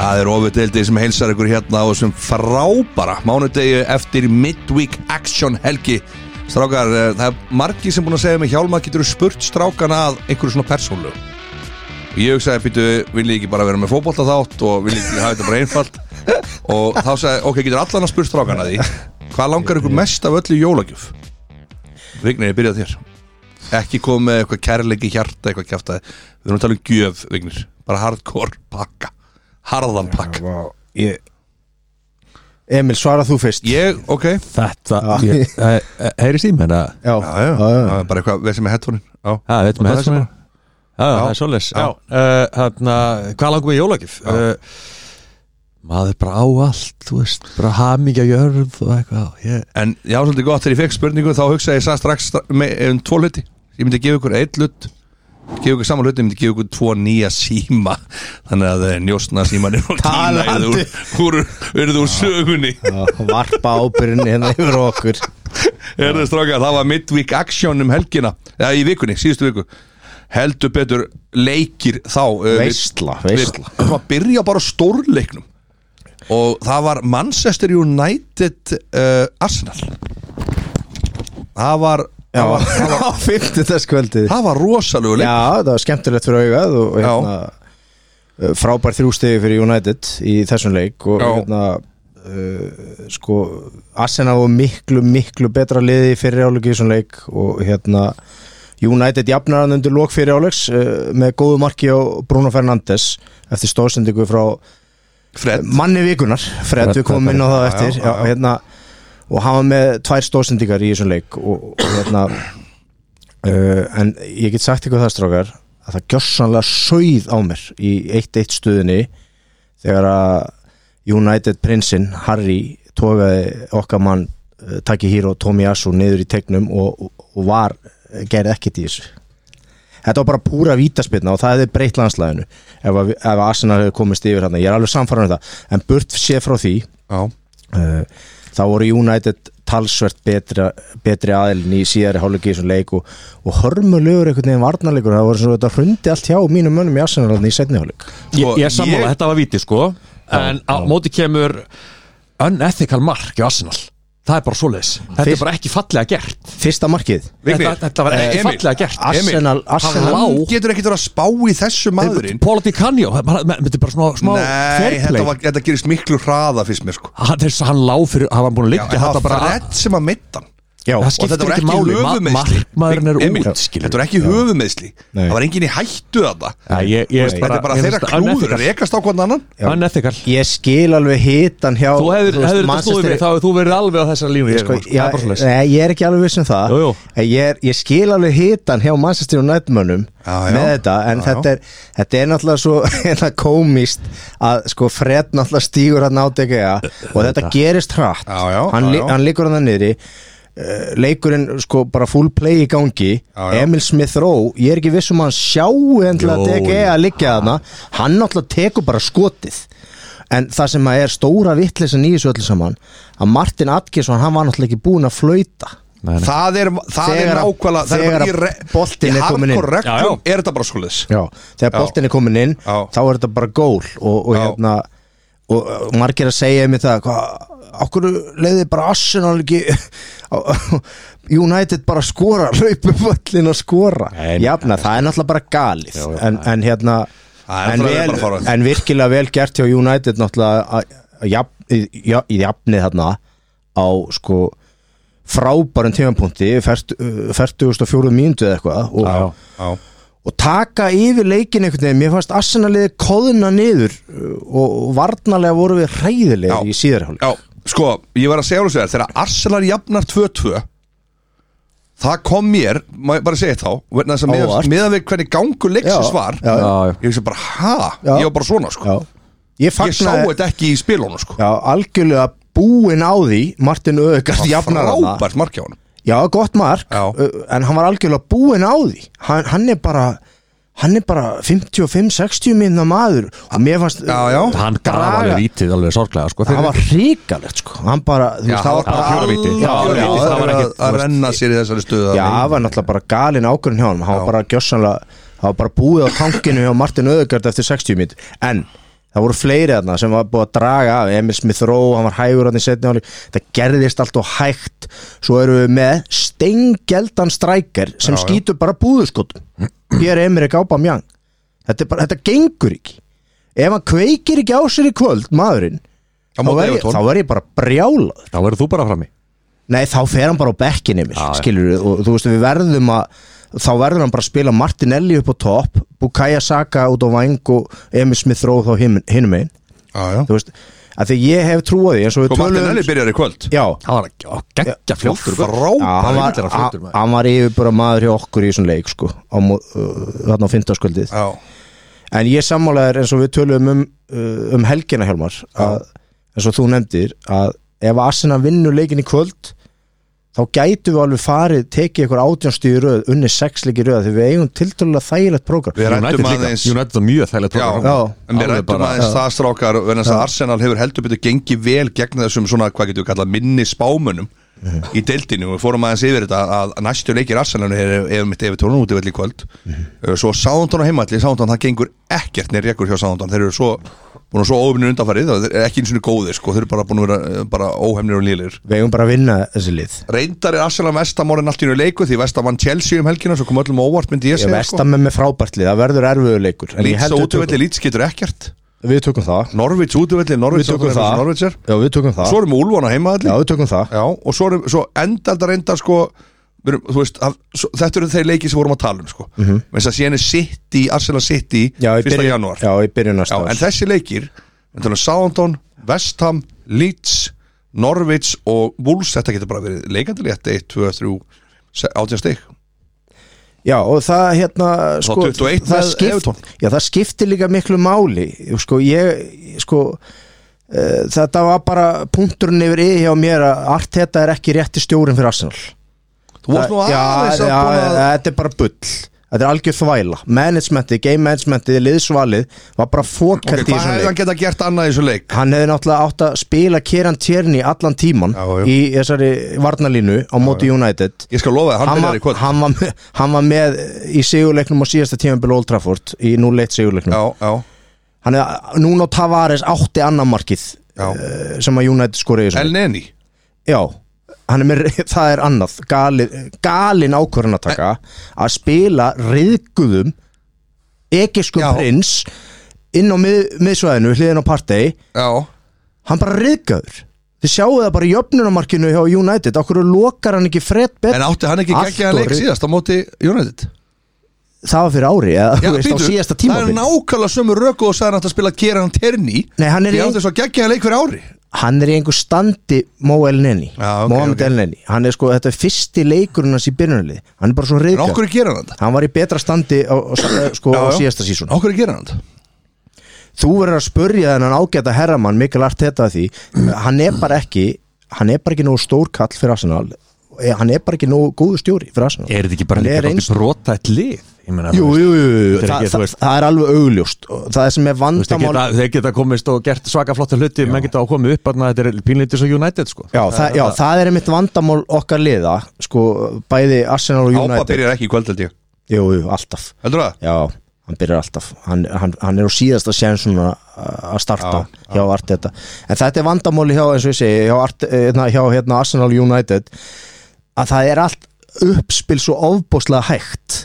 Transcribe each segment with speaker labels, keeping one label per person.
Speaker 1: Það er ofuteldið sem heilsar ykkur hérna á þessum frábara mánudegi eftir Midweek Action helgi Strákar, eh, það er margi sem búin að segja mig Hjálma, getur þú spurt strákana að einhverju svona persónlu? Ég hugsaði, býtu, vil ég ekki bara vera með fótbolta þátt og vil ég ekki hafa þetta bara einfalt og þá sagði, ok, getur allan að spurt strákana því Hvað langar ykkur mest af öllu í jólagjöf? Vignir, ég byrja á þér Ekki komið með eitthvað kærleiki hjarta, eitthvað kjaftaði Við erum að tala um gjöf, Vignir Bara hardcore pakka Harðan pakka
Speaker 2: Vá, ég... Emil, svara þú fyrst
Speaker 1: Ég, ok
Speaker 3: Þetta
Speaker 2: Já.
Speaker 3: ég- eh, eh, Heyrist í mér það?
Speaker 2: Já,
Speaker 1: Já, já, það er bara eitthvað, við sem er headphone Já,
Speaker 3: Já, veitum
Speaker 1: Og
Speaker 3: við
Speaker 1: það sem
Speaker 3: þessum Já, það er svoleiðis Já, uh, hérna, hvað langum við í jólagjöf? Uh, maður bara á allt, þú veist, bara hamingja jörð og eitthvað ég,
Speaker 1: En já, svolítið gott þegar ég fekk spurningu þá hugsaði ég sagði strax stra- með, um tvo hluti Ég myndi gefa ykkur einn hlut gefa ykkur saman hluti, ég myndi gefa ykkur tvo nýja síma þannig að eh, njósna símanir og tína yrðu
Speaker 2: Talandi.
Speaker 1: úr, úr, yrðu úr sögunni
Speaker 2: já varpa ábyrðin hérna yfir á okkur
Speaker 1: Erðu strákar, það var midweek action um helgina eða í vikunni, síðustu viku heldur betur leikir þá eh, við-
Speaker 2: Veistla, veistla.
Speaker 1: Við erum að byrja bara á stórleiknum og það var Manchester United uh, Arsenal það var
Speaker 2: Já,
Speaker 1: það var, það var,
Speaker 2: á fimmtudagskvöldið Já,
Speaker 1: það var rosalegu leik
Speaker 2: það var skemmtilegt fyrir augað og og hérna uh, frábær þrjústegi fyrir United í þessum leik og
Speaker 1: Já.
Speaker 2: hérna uh, sko, Arsenal var miklu, miklu betra liði fyrir áleik í þessum leik og hérna United jafnar hann undir lók fyrir áleiks uh, með góðu marki á Bruno Fernandes eftir stóðsendingu frá eh,
Speaker 1: Fred,
Speaker 2: manni vikunar, Fred,
Speaker 3: Fred,
Speaker 2: við komum inn á það
Speaker 1: já,
Speaker 2: eftir
Speaker 1: já,
Speaker 2: já,
Speaker 1: já.
Speaker 2: Hérna, og hafa með tvær stóðsendingar í þessum leik og, og hérna uh, en ég get sagt ykkur það strákar að það gjörsanlega sögð á mér í 1-1 stuðinni þegar að United prinsinn Harry tókaði okkar mann uh, Takihiro Tomiyasu niður í tegnum og, og, og var gerði ekkert í þessu Þetta var bara púra vítaspilna og það hefði breytt landslæðinu ef, að- ef að Arsenal hefði komist yfir hann ég er alveg samfæran um það, en burt sé frá því
Speaker 1: já,
Speaker 2: uh, þá voru United talsvert betra, betri aðilin í síðari hálfleiki í þessum leik og, og hörmulegur einhvern veginn varnarleikur það voru svona þetta hrundi allt hjá mínum mönnum í Arsenal þarna í setni hálfleik
Speaker 1: Sko,
Speaker 3: ég, ég er sammála,
Speaker 1: ég-
Speaker 3: þetta var viti sko En á móti kemur unethical mark í Arsenal Það er bara svoleiðis Þetta
Speaker 2: Fyrst-
Speaker 3: er bara ekki fallega gert
Speaker 2: fyrsta markið
Speaker 3: þetta, þetta var ekki
Speaker 1: eh, Emil,
Speaker 3: fallega gert
Speaker 2: Arsenal,
Speaker 3: hann
Speaker 2: Arsenal
Speaker 3: lá.
Speaker 1: hann getur ekkert verið að spá í þessu maðurinn
Speaker 3: Polity Canyo, þetta er bara svona smá
Speaker 1: Nei,
Speaker 3: fair
Speaker 1: þetta,
Speaker 3: play.
Speaker 1: var, þetta gerist miklu hraða fyrst mér sko
Speaker 3: hann, þess, hann lá fyrir, hann var búin að
Speaker 1: já, en
Speaker 3: liggja
Speaker 1: það
Speaker 3: þetta
Speaker 1: var
Speaker 3: bara
Speaker 1: Fred sem að mitta hann
Speaker 2: já,
Speaker 3: það
Speaker 1: og þetta
Speaker 3: skiptir
Speaker 1: var
Speaker 3: ekki
Speaker 1: ekki
Speaker 3: máli Ma-
Speaker 1: höfumeisli
Speaker 3: markmaðurinn er út, skilur.
Speaker 1: þetta var ekki höfumeisli
Speaker 2: Nei.
Speaker 1: það var enginn í hættu þetta
Speaker 3: Já, ég- ég-
Speaker 1: þetta er bara
Speaker 3: ég
Speaker 1: þeirra
Speaker 3: finnst það
Speaker 1: klúður
Speaker 3: unethical.
Speaker 1: rekast á hvern annan
Speaker 3: unethical
Speaker 2: ég skil alveg hitan hjá
Speaker 3: þú hefðir
Speaker 2: veist,
Speaker 3: hefðir þetta
Speaker 2: Manchester-
Speaker 3: stóðið mig, þá hefur þú verið alveg á þessari línu
Speaker 2: sko,
Speaker 3: Jörgur.
Speaker 2: já,
Speaker 3: það er bara svoleiðis
Speaker 2: nei, ég er ekki alveg viss um það
Speaker 3: Jú, jú.
Speaker 2: En Ég, er, ég skil alveg hitan hjá Manchester United mönnum
Speaker 1: Já, já.
Speaker 2: með þetta en
Speaker 1: Já,
Speaker 2: þetta, er, þetta er náttúrulega svo hérna, komist að sko, Fred náttúrulega stígur hann át ekki og þetta gerist hratt
Speaker 1: Já, já,
Speaker 2: hann,
Speaker 1: já,
Speaker 2: li-
Speaker 1: já.
Speaker 2: hann liggur hann niðri Eh, leikurinn sko bara full play í gangi
Speaker 1: Já, já.
Speaker 2: Emil Smith Rowe, ég er ekki viss um að hann sjá endilega
Speaker 3: Jó,
Speaker 2: DG að liggja þarna hann náttúrulega tekur bara skotið en það sem að er stóra vittlisan í þessu öllu saman að Martin Atkinson hann var náttúrulega ekki búinn að flauta
Speaker 3: Nei, nei.
Speaker 1: það er, það er
Speaker 2: Þegar að-
Speaker 1: nákvæmlega það
Speaker 2: þegar
Speaker 1: er bara
Speaker 2: að
Speaker 1: í re-
Speaker 2: boltinn
Speaker 1: í
Speaker 2: er kominn inn.
Speaker 1: hardcore
Speaker 3: Já,
Speaker 1: reglum
Speaker 3: já.
Speaker 1: er þetta bara skoðis
Speaker 2: Já, þegar boltin er komin inn
Speaker 1: Já.
Speaker 2: þá er þetta bara gól og, og
Speaker 1: Já.
Speaker 2: hérna og, og margir að segja mér það hvað, okkur leiði bara Arsenal ekki United bara skora, hlaupu völlin og skora
Speaker 3: Nei, nei,
Speaker 2: jafna, það er náttúrulega bara galið
Speaker 3: Jú, jú,
Speaker 2: en, en hérna
Speaker 1: Það er
Speaker 2: en,
Speaker 1: náttúrulega bara fáránlegt.
Speaker 2: en virkilega vel gert hjá United náttúrulega að- að jafn- í- ja- í jafnið þarna á sko frábærum uh, tímanpunkti 44 mínútu eða eitthvað og,
Speaker 3: Já, já.
Speaker 2: og taka yfir leikin einhvern veginn, mér fannst Arsenaliði kóðuna niður uh, og og varnarlega voru við
Speaker 1: Já.
Speaker 2: hræðilegir í síðarháli
Speaker 1: já, sko, ég var að segja alveg sér þegar Arsenal jafnar 2-2 það kom mér, má ég bara segja þá vegna þess að
Speaker 2: Óvart.
Speaker 1: miða- miðað við hvernig gangur leiksins
Speaker 2: Já,
Speaker 1: var
Speaker 2: já, já.
Speaker 1: ég vissi bara, ha,
Speaker 2: Já.
Speaker 1: ég var bara svona sko.
Speaker 2: ég
Speaker 1: ég sá
Speaker 2: fagnaði
Speaker 1: þetta ekki í spilunum sko.
Speaker 2: já, algjörlega búin á því Martin Öðegard jafnar hana
Speaker 1: frábært mark hjá honum
Speaker 2: já, gott mark,
Speaker 1: Já.
Speaker 2: uh, en hann var algjörlega búin á því hann, hann er bara hann er bara 55-60 minna maður og mér fannst
Speaker 1: Já, já.
Speaker 3: hann gaf alveg rítið alveg sorglega sko,
Speaker 2: það var hríkalegt sko hann bara, þú veist, það var bara
Speaker 3: fjóra víti.
Speaker 2: Já,
Speaker 3: Fjóra
Speaker 2: já,
Speaker 3: víti,
Speaker 2: já,
Speaker 3: það var
Speaker 1: að-
Speaker 3: ekkert, þú
Speaker 1: að
Speaker 3: veist,
Speaker 1: renna sér í þessari stuða
Speaker 2: Já, það var náttúrulega bara galin ákvörðin hjá hann hann var bara gjössanlega, það var bara búið á tankinu hjá Martin Öðegard eftir 60 mít en það voru fleiri þarna sem var búið að draga af Emil Smith Rowe, hann var hægur hann í setni áli það gerðist allt og hægt svo eru við með steingeldan strækjar sem
Speaker 1: Já, já.
Speaker 2: skýtur bara búðuskotum Pierre Emerick Aubameyang þetta, er bara, þetta gengur ekki ef hann kveikir ekki á sér í kvöld maðurinn,
Speaker 1: Á
Speaker 2: þá
Speaker 1: móti
Speaker 2: verð ég,
Speaker 1: Everton.
Speaker 2: þá verð ég bara brjálaður
Speaker 3: Þá verður þú bara frammi
Speaker 2: Nei, þá fer hann bara á bekkinni mér,
Speaker 3: Já, já.
Speaker 2: skilur við, og þú veist, við verðum að, þá verður hann bara að spila Martinelli upp á topp, Bukaja Saka út á vang og Emil Smith Rowe þá hin- hinum einn,
Speaker 1: Já, já
Speaker 2: þú veist, að því ég hef trúið því, eins og við
Speaker 1: Sko Martinelli
Speaker 2: tölum,
Speaker 1: byrjar í kvöld
Speaker 2: já,
Speaker 3: Það var ekki, ó, geggja fljóttur
Speaker 2: já, hann
Speaker 1: Frábæra
Speaker 2: var,
Speaker 3: er að flottur maður.
Speaker 2: hann var yfir bara maður hjá okkur í svona leik, sko, á, mó- uh, þarna á fimmtaskvöldið,
Speaker 1: Já,
Speaker 2: en ég sammálaður eins og við tölum um, uh, um helgina, Helmar, að, eins og þú nefndir, að ef Arsenal vinnur leikin í kvöld, þá gætu við alveg farið, tekið ykkur átjánstíð í röð, unni sexleik í röð því við eigum tiltölulega þægilegt prógram
Speaker 1: Við erum-
Speaker 3: United
Speaker 1: ræddum
Speaker 3: líka,
Speaker 1: aðeins-
Speaker 3: United var mjög þægilegt
Speaker 1: já,
Speaker 3: program.
Speaker 2: Já.
Speaker 1: en við
Speaker 3: Alveg
Speaker 1: rættum
Speaker 3: bara,
Speaker 1: aðeins
Speaker 2: já.
Speaker 1: það strákar vegna þess að Arsenal hefur heldur betur gengið vel gegn þessum svona, hvað getur við kallað, minni spámunum
Speaker 2: Mhm.
Speaker 1: í deildinu og við fórum aðeins yfir þetta að næstu leikir Arsenal er ef mitt ef tónum út í velli kvöld
Speaker 2: Mhm.
Speaker 1: svo Sándon á heimalli, Sándon það gengur ekkert nýr rekur hjá Sándon, þeir eru svo búin að svo óöfnir undanfarið, það er ekki eins og góðir sko, þeir eru bara búin að vera eh, bara óhemnir og lýlir
Speaker 2: við eigum bara að vinna þessi lið
Speaker 1: reyndar er Arsenal vestamorinn allt í njög leiku því vestamann Chelsea um helgina, svo kom öllum á óvart myndi ég
Speaker 2: ég
Speaker 1: segja
Speaker 2: versta
Speaker 1: sko.
Speaker 2: með með frábært lið, það verður erfiður leikur en ég
Speaker 1: Leeds á
Speaker 2: held við
Speaker 1: útivelli,
Speaker 2: tökum,
Speaker 1: Leeds getur ekkert
Speaker 2: við tökum það
Speaker 1: Norvits útvöldi, Norvits
Speaker 2: Við tökum
Speaker 1: ákveður
Speaker 2: það.
Speaker 1: eins og Norvits er
Speaker 2: já, við tökum það,
Speaker 1: Svo erum við Úlfana heima
Speaker 2: já,
Speaker 1: allir
Speaker 2: við tökum það.
Speaker 1: Já, og svo, erum, svo endaldar endar sko við erum, þú veist, að, svo, þetta eru þeir leiki sem vorum að tala um sko mm -hmm. að síðan er City, Arsenal City
Speaker 2: Mhm. Já, í
Speaker 1: 1.
Speaker 2: byrjun-
Speaker 1: janúar
Speaker 2: já, í byrjun
Speaker 1: Já,
Speaker 2: næsta
Speaker 1: en
Speaker 2: árs.
Speaker 1: þessi leikir við tala um Southampton, West Ham, Leeds Norvits og Wolves þetta getur bara verið leikandi létt 1, 2, 3, 18 stig
Speaker 2: já, og það hérna sko,
Speaker 1: 21
Speaker 2: það,
Speaker 1: með Everton.
Speaker 2: skipt, já, það skiptir líka miklu máli sko, ég sko, uh, þetta var bara punkturinn yfir í hjá mér að allt þetta er ekki rétti stjórinn fyrir Arsenal
Speaker 1: Þú varst nú
Speaker 2: Já,
Speaker 1: aðeins að
Speaker 2: já,
Speaker 1: búna
Speaker 2: þetta er bara bull Þetta er algjör þvæla Managementið, game managementið, liðsvalið Var bara fókært
Speaker 1: Ok,
Speaker 2: í
Speaker 1: hvað
Speaker 2: þessum
Speaker 1: hefði hann
Speaker 2: leik
Speaker 1: geta gert annað í þessu leik?
Speaker 2: Hann hefði náttúrulega átt að spila Kieran Tierney allan tíman
Speaker 1: Já, já.
Speaker 2: Í þessari varnalínu á móti United
Speaker 1: Ég skal lofa þér, hann
Speaker 2: hann
Speaker 1: byrjar í
Speaker 2: var,
Speaker 1: kvöld
Speaker 2: hann, var með, hann var með eh, í sigurleiknum á síðasta tímanbili Old Trafford Í 0-1 sigurleiknum
Speaker 1: Já, já,
Speaker 2: Hann hefði núna á Tavares átti annan markið
Speaker 1: Já.
Speaker 2: eh, Sem að United skoriði
Speaker 1: El Neni
Speaker 2: Já, hann er með, það er annað galin, galin ákvörðan að taka að spila reyðguðum ekiskum
Speaker 1: Já.
Speaker 2: prins inn á mið, miðsvæðinu hliðin á partei,
Speaker 1: Já
Speaker 2: hann bara reyðgöður þið sjáu það bara í jöfnunamarkinu hjá United, okkur lokar hann ekki fred
Speaker 1: En
Speaker 2: bett,
Speaker 1: átti hann ekki
Speaker 2: Allt
Speaker 1: geggjaða
Speaker 2: og
Speaker 1: leik
Speaker 2: ri-
Speaker 1: síðast á móti United?
Speaker 2: það var fyrir ári eða þú veist
Speaker 1: býtu,
Speaker 2: á síðasta
Speaker 1: Það er
Speaker 2: tímabil
Speaker 1: nákvæmlega sömu röku og sagði hann átti að spila Kieran Terni
Speaker 2: Nei, hann er
Speaker 1: Því
Speaker 2: í-
Speaker 1: átti svo geggjaða leik fyrir ári
Speaker 2: hann er í einhver standi Mo El Neni
Speaker 1: Já, ok,
Speaker 2: Mohamed
Speaker 1: ok.
Speaker 2: El Neni, hann er sko, þetta er fyrsti leikurinn hans í byrjunarlið, hann er bara svo
Speaker 1: En
Speaker 2: reyðgöður
Speaker 1: okkur er Kieran þetta?
Speaker 2: hann var í betra standi á, á, sko,
Speaker 1: Já,
Speaker 2: á
Speaker 1: já.
Speaker 2: síðasta sísun
Speaker 1: Okkur er Kieran þetta?
Speaker 2: þú verður að spurja þennan ágæta herramann Mikkel Arteta að því hann er bara ekki hann er bara ekki nógu stór kall fyrir Arsenal Eh, hann er bara ekki nógu góðu stjóri fyrir Arsenal
Speaker 3: Er þetta ekki bara
Speaker 2: Hann
Speaker 3: líka
Speaker 2: er
Speaker 3: dálítið brotætt lið? Ég meina,
Speaker 2: jú,
Speaker 3: þú veist,
Speaker 2: jú, jú, jú.
Speaker 3: Þetta
Speaker 2: Þa,
Speaker 3: er ekki, þú
Speaker 2: það,
Speaker 3: veist-
Speaker 2: það er alveg augljóst Og það sem er
Speaker 3: þú veist, þeir
Speaker 2: vandamál
Speaker 3: geta, þeir geta komist og gert svaka flotta hluti menn geta á komið upp að þetta er pínleitis og United sko.
Speaker 2: Já, það, já, það er einmitt vandamál okkar liða sko, bæði Arsenal og
Speaker 1: Ápa
Speaker 2: United
Speaker 1: byrjar ekki í kvöld held ég
Speaker 2: Jú, jú, alltaf
Speaker 1: Heldur það?
Speaker 2: Já, hann byrjar alltaf hann, hann, hann er á síðasta sénsum að að starta hjá Arteta en þetta er vandamáli hjá, eins og ég segi hjá, Art, hérna, hjá hérna Arsenal United að það er allt uppspil svo ofbóðslega hægt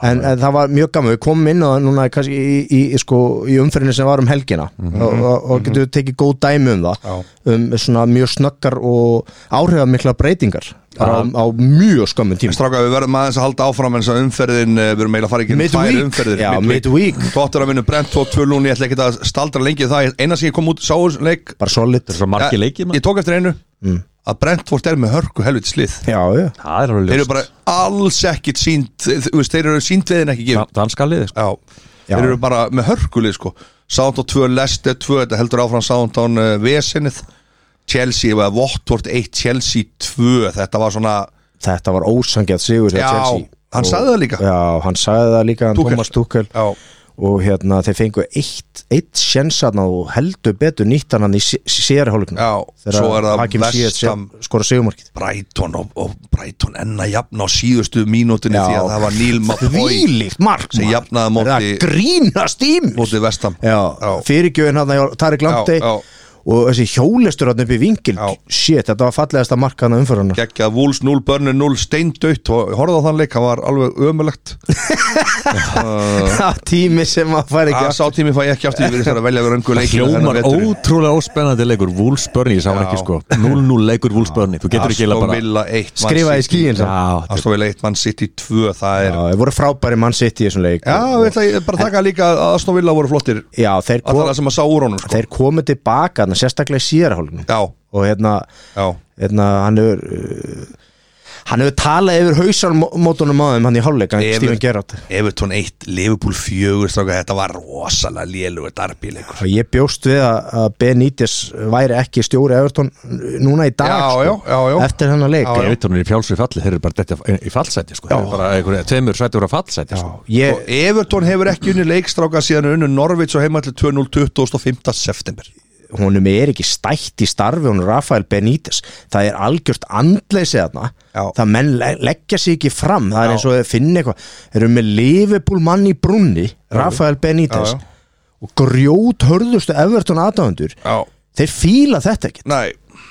Speaker 2: en, en það var mjög gaman við komum inn á það núna kannski í, í, í, sko, í umferðinu sem var um helgina og, og, og getum við tekið góð dæmi um það um svona mjög snöggar og áhrifamikla breytingar bara á, á mjög skömmun tíma
Speaker 1: Stráka við verðum aðeins að halda áfram eins og umferðin eh, Við erum eiginlega að fara ekki inn í tvær
Speaker 2: Midweek.
Speaker 1: umferðir
Speaker 2: Já, midweek.
Speaker 1: Tóttur að vinna brent 2-2 Ég ætla ekki að staldra lengi við það Einar sem ég kom út sá þessum leik
Speaker 2: bara solid
Speaker 3: Þetta er svo margi
Speaker 1: eh,
Speaker 3: leikið
Speaker 1: Ég
Speaker 3: maður.
Speaker 1: tók eftir einu
Speaker 2: Mm.
Speaker 1: Að Brentford er með hörku helvits lið
Speaker 2: Já, já
Speaker 3: Það er alveg
Speaker 1: Þeir eru
Speaker 3: ljóst
Speaker 1: bara alls ekkit sínt Þeir, þeir eru sínt leiðin ekki gefin
Speaker 3: Dan- Danska liði sko.
Speaker 1: Já,
Speaker 2: Já.
Speaker 1: þeir eru bara með hörkulið sko Soundon 2, Leicester 2, þetta heldur áfram Soundon uh, Vesinnið Chelsea, eða Votvort 1, Chelsea 2 Þetta var svona,
Speaker 2: þetta var ósangjað sigur hjá
Speaker 1: já,
Speaker 2: Chelsea
Speaker 1: hann
Speaker 2: Og-
Speaker 1: sagði það líka
Speaker 2: Já, hann sagði það líka hann
Speaker 1: Tuchel.
Speaker 2: Thomas Tuchel
Speaker 1: Já,
Speaker 2: og hérna þeir fengu eitt, eitt sjensan og heldur betur nýttan hann í sérhálugna
Speaker 1: Já, svo er
Speaker 2: þegar
Speaker 1: það
Speaker 2: Hakim Sýr
Speaker 1: Vestam-
Speaker 2: skora segumarkið
Speaker 1: Brighton og, og Brighton enna jafn á síðustu mínútinni
Speaker 2: Já.
Speaker 1: því að það var Neil Mapoy
Speaker 2: Þvílíkt mark
Speaker 1: sem
Speaker 2: maður.
Speaker 1: jafnaði
Speaker 2: Er
Speaker 1: móti-
Speaker 2: það grínast í mig?
Speaker 1: mótið vestam
Speaker 2: Já, fyrirgjöfin hann það er glamti
Speaker 1: Já, já.
Speaker 2: og þessi hjólestur hann upp í vingil
Speaker 1: Já.
Speaker 2: shit, þetta var fallegasta mark hann umfyrir hann
Speaker 1: geggjað Wolves 0, Burnley 0, steindautt og horfðu á þann leik, hann var alveg ömulegt
Speaker 2: tími sem að færi ekki
Speaker 1: að sá tími fæ ég ekki aftur ég verið þar að velja röngu leik
Speaker 3: Hljómar ótrúlega óspennandi leikur Wolfsburni, ég sá hann
Speaker 1: Já.
Speaker 3: ekki sko 0-0 leikur Wolfsburni, þú getur ekki eila bara
Speaker 1: Villa 1 Man
Speaker 2: skrifa í
Speaker 1: City.
Speaker 2: skíin já,
Speaker 3: Já, þetta-
Speaker 1: Aston Villa 1, Man City 2 það er,
Speaker 2: þeir voru frábæri mann sitt í þessum leik
Speaker 1: já,
Speaker 2: og,
Speaker 1: við ætla ég bara að taka líka að Aston Villa voru flottir
Speaker 2: já þeir,
Speaker 1: alltaf
Speaker 2: kom,
Speaker 1: það sem að sá úr honum sko.
Speaker 2: þeir komu tilbaka þarna, sérstaklega í sérhálugna
Speaker 1: já,
Speaker 2: og hérna,
Speaker 1: já,
Speaker 2: hérna hann hefur uh, hann hefur talað yfir hausarmótunum á þeim hann í hálfleik, hann
Speaker 1: Yfir-
Speaker 2: Steven Gerrard
Speaker 1: Everton 1, Liverpool 4 stráka, þetta var rosalega lélugur darbileikur
Speaker 2: og ég bjóst við að að Benítez væri ekki stjóri Everton núna í dag sko,
Speaker 1: Já, já, já, já.
Speaker 2: eftir hennar leik
Speaker 1: Já,
Speaker 3: Ég veit hún er í fjálsvið falli, þeir eru bara detta í fallsæti sko. Þeir eru bara einhverja, tveimur sæti voru að fallsæti sko.
Speaker 1: og
Speaker 2: Ég,
Speaker 1: Everton hefur ekki unni leikstráka síðan unni Norvits og heimalli 2-0 2005. september
Speaker 2: honum er ekki stætt í starfi hún Rafael Benítez það er algjört andleysi þarna
Speaker 1: Já.
Speaker 2: það menn le leggja sig ekki fram það
Speaker 1: Já.
Speaker 2: er eins og þeir finna eitthvað þeir eru með Liverpool mann í brunni Rafael Benítez
Speaker 1: Já, já.
Speaker 2: og grjót hörðustu Everton aðdáðundur
Speaker 1: já,
Speaker 2: þeir fíla þetta ekki
Speaker 1: næ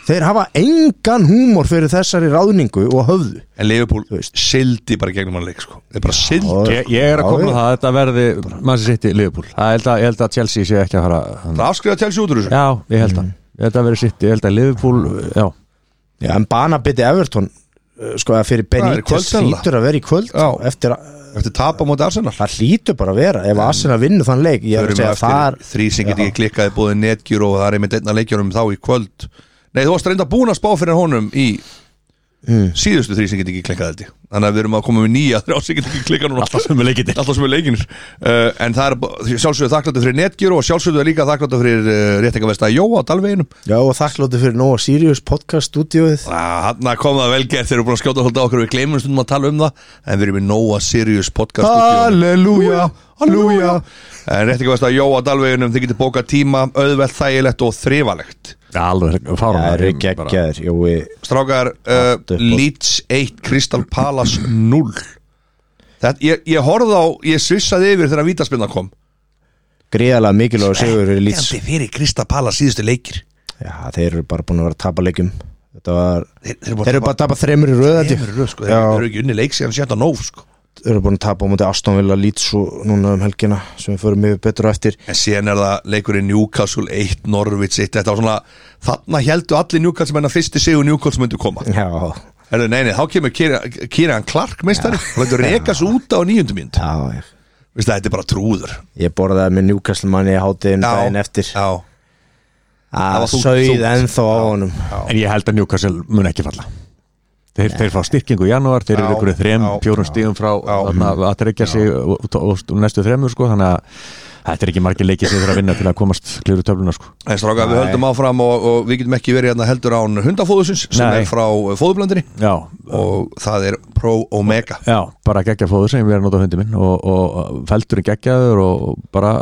Speaker 2: þeir hafa engan húmor fyrir þessari ráðningu og höfðu
Speaker 1: en Liverpool
Speaker 2: veist.
Speaker 1: sildi bara gegnum hann leik sko. þeir bara sildi
Speaker 2: Og-
Speaker 3: ég, ég er að koma
Speaker 2: Já,
Speaker 3: á það að þetta verði mann sem sitt í Liverpool Það held að, ég held að Chelsea sé ekki að fara hann.
Speaker 1: það Mm. afskriða til út úr þessu
Speaker 3: Já, ég held að Þetta verði sitt, ég held að Liverpool Já,
Speaker 2: Já, en banabiti Everton uh, sko að
Speaker 1: er
Speaker 2: fyrir
Speaker 1: í kvöld
Speaker 2: Benítez
Speaker 1: sennilega.
Speaker 2: hlýtur að vera í kvöld
Speaker 1: Já.
Speaker 2: eftir að
Speaker 1: eftir tapa móti Arsenal
Speaker 2: það hlýtur bara að vera ef Arsenal vinnur þann leik ég er að
Speaker 1: Förum við
Speaker 2: segja að það
Speaker 1: eftir þrý sem get ekki klikkað búið netgjur og það er einmitt einna leikjunum þá í kvöld Nei, þú varst reynda búin að spá fyrir honum í
Speaker 2: Mm.
Speaker 1: síðustu þrý sem get ekki klikkað held ég Þannig að við erum að koma með nýja þrjá sem get ekki klikkað núna
Speaker 3: alltaf sem við leikir
Speaker 1: Alltaf sem er leikinir uh, En það er b- sjálfsögðu þakkláttu fyrir netgjur og sjálfsögðu er líka þakkláttu fyrir uh, réttingavesta Jóa á Dalveginum
Speaker 2: já og þakkláttu fyrir Nóa Sirius podcast stúdíóið
Speaker 1: Hanna kom það vel gert þegar við erum búin að skjóta hólda okkur Við gleymum stundum að tala um það En við erum í Nóa Sirius podcast
Speaker 2: Halleluja,
Speaker 1: Halleluja En réttingavesta Jóa á Dalveginum Þið getur bókað tíma, auðvelt, þægilegt og þrifalegt
Speaker 3: Alveg fárum
Speaker 2: það eru
Speaker 3: sko.
Speaker 2: geggjaðir Jói,
Speaker 1: Strákar, uh,
Speaker 2: Allt upp á-
Speaker 1: Leeds 1, Crystal Palace 0 Þetta, ég, ég horfði á, ég svissaði yfir þegar vítaspinna kom
Speaker 2: greiðalega mikilvægur sigur fyrir lýts
Speaker 1: Þegar fyrir Crystal Palace síðustu leikir
Speaker 2: já þeir eru bara búin að vera að tapa leikum þetta var
Speaker 1: Þeir,
Speaker 2: þeir eru bara að tapa þreymur í röð held ég.
Speaker 1: Þeir eru sko, þeir
Speaker 2: Já.
Speaker 1: þeir eru ekki unni leik síðan sjönda nóf sko
Speaker 2: Þeir eru búin að tapa á móti Aston Villa Leeds og núna um helgina sem við förum yfir betur á eftir
Speaker 1: En síðan er það leikurinn Newcastle 1, Norwich 1 Þetta var svona, þarna heldu allir Newcastle menn að fyrsti sigur Newcastle myndu koma
Speaker 2: já,
Speaker 1: Herðu, nei, nei, þá kemur Kieran Clark meistari og þetta rekas út á nýjundu mynd
Speaker 2: já ég,
Speaker 1: Veistu, þetta er bara trúður
Speaker 2: ég borðaði með Newcastle manni í hátiðin daginn eftir
Speaker 1: já,
Speaker 2: að
Speaker 1: var þungt,
Speaker 2: sögð
Speaker 1: þungt.
Speaker 2: ennþá á honum
Speaker 3: En ég held að Newcastle mun ekki falla Þeir, þeir fá styrkingu í janúar, þeir eru
Speaker 1: Já,
Speaker 3: ykkur þrem,
Speaker 1: já,
Speaker 3: fjórum stíðum frá þarna, að tryggja sig og, og, og, og næstu þremur sko, þannig að þetta er ekki margir leikið sem þeir að vinna til að komast kliður töfluna sko.
Speaker 1: En stráka, við höldum áfram og, og við getum ekki verið hérna heldur án hundafóðusins sem
Speaker 3: Nei.
Speaker 1: er frá fóðublandinni
Speaker 3: Já,
Speaker 1: og það er Pro Omega
Speaker 3: Já, bara geggja fóður sem ég er að nota hundi minn og, og feldurinn geggjaður og bara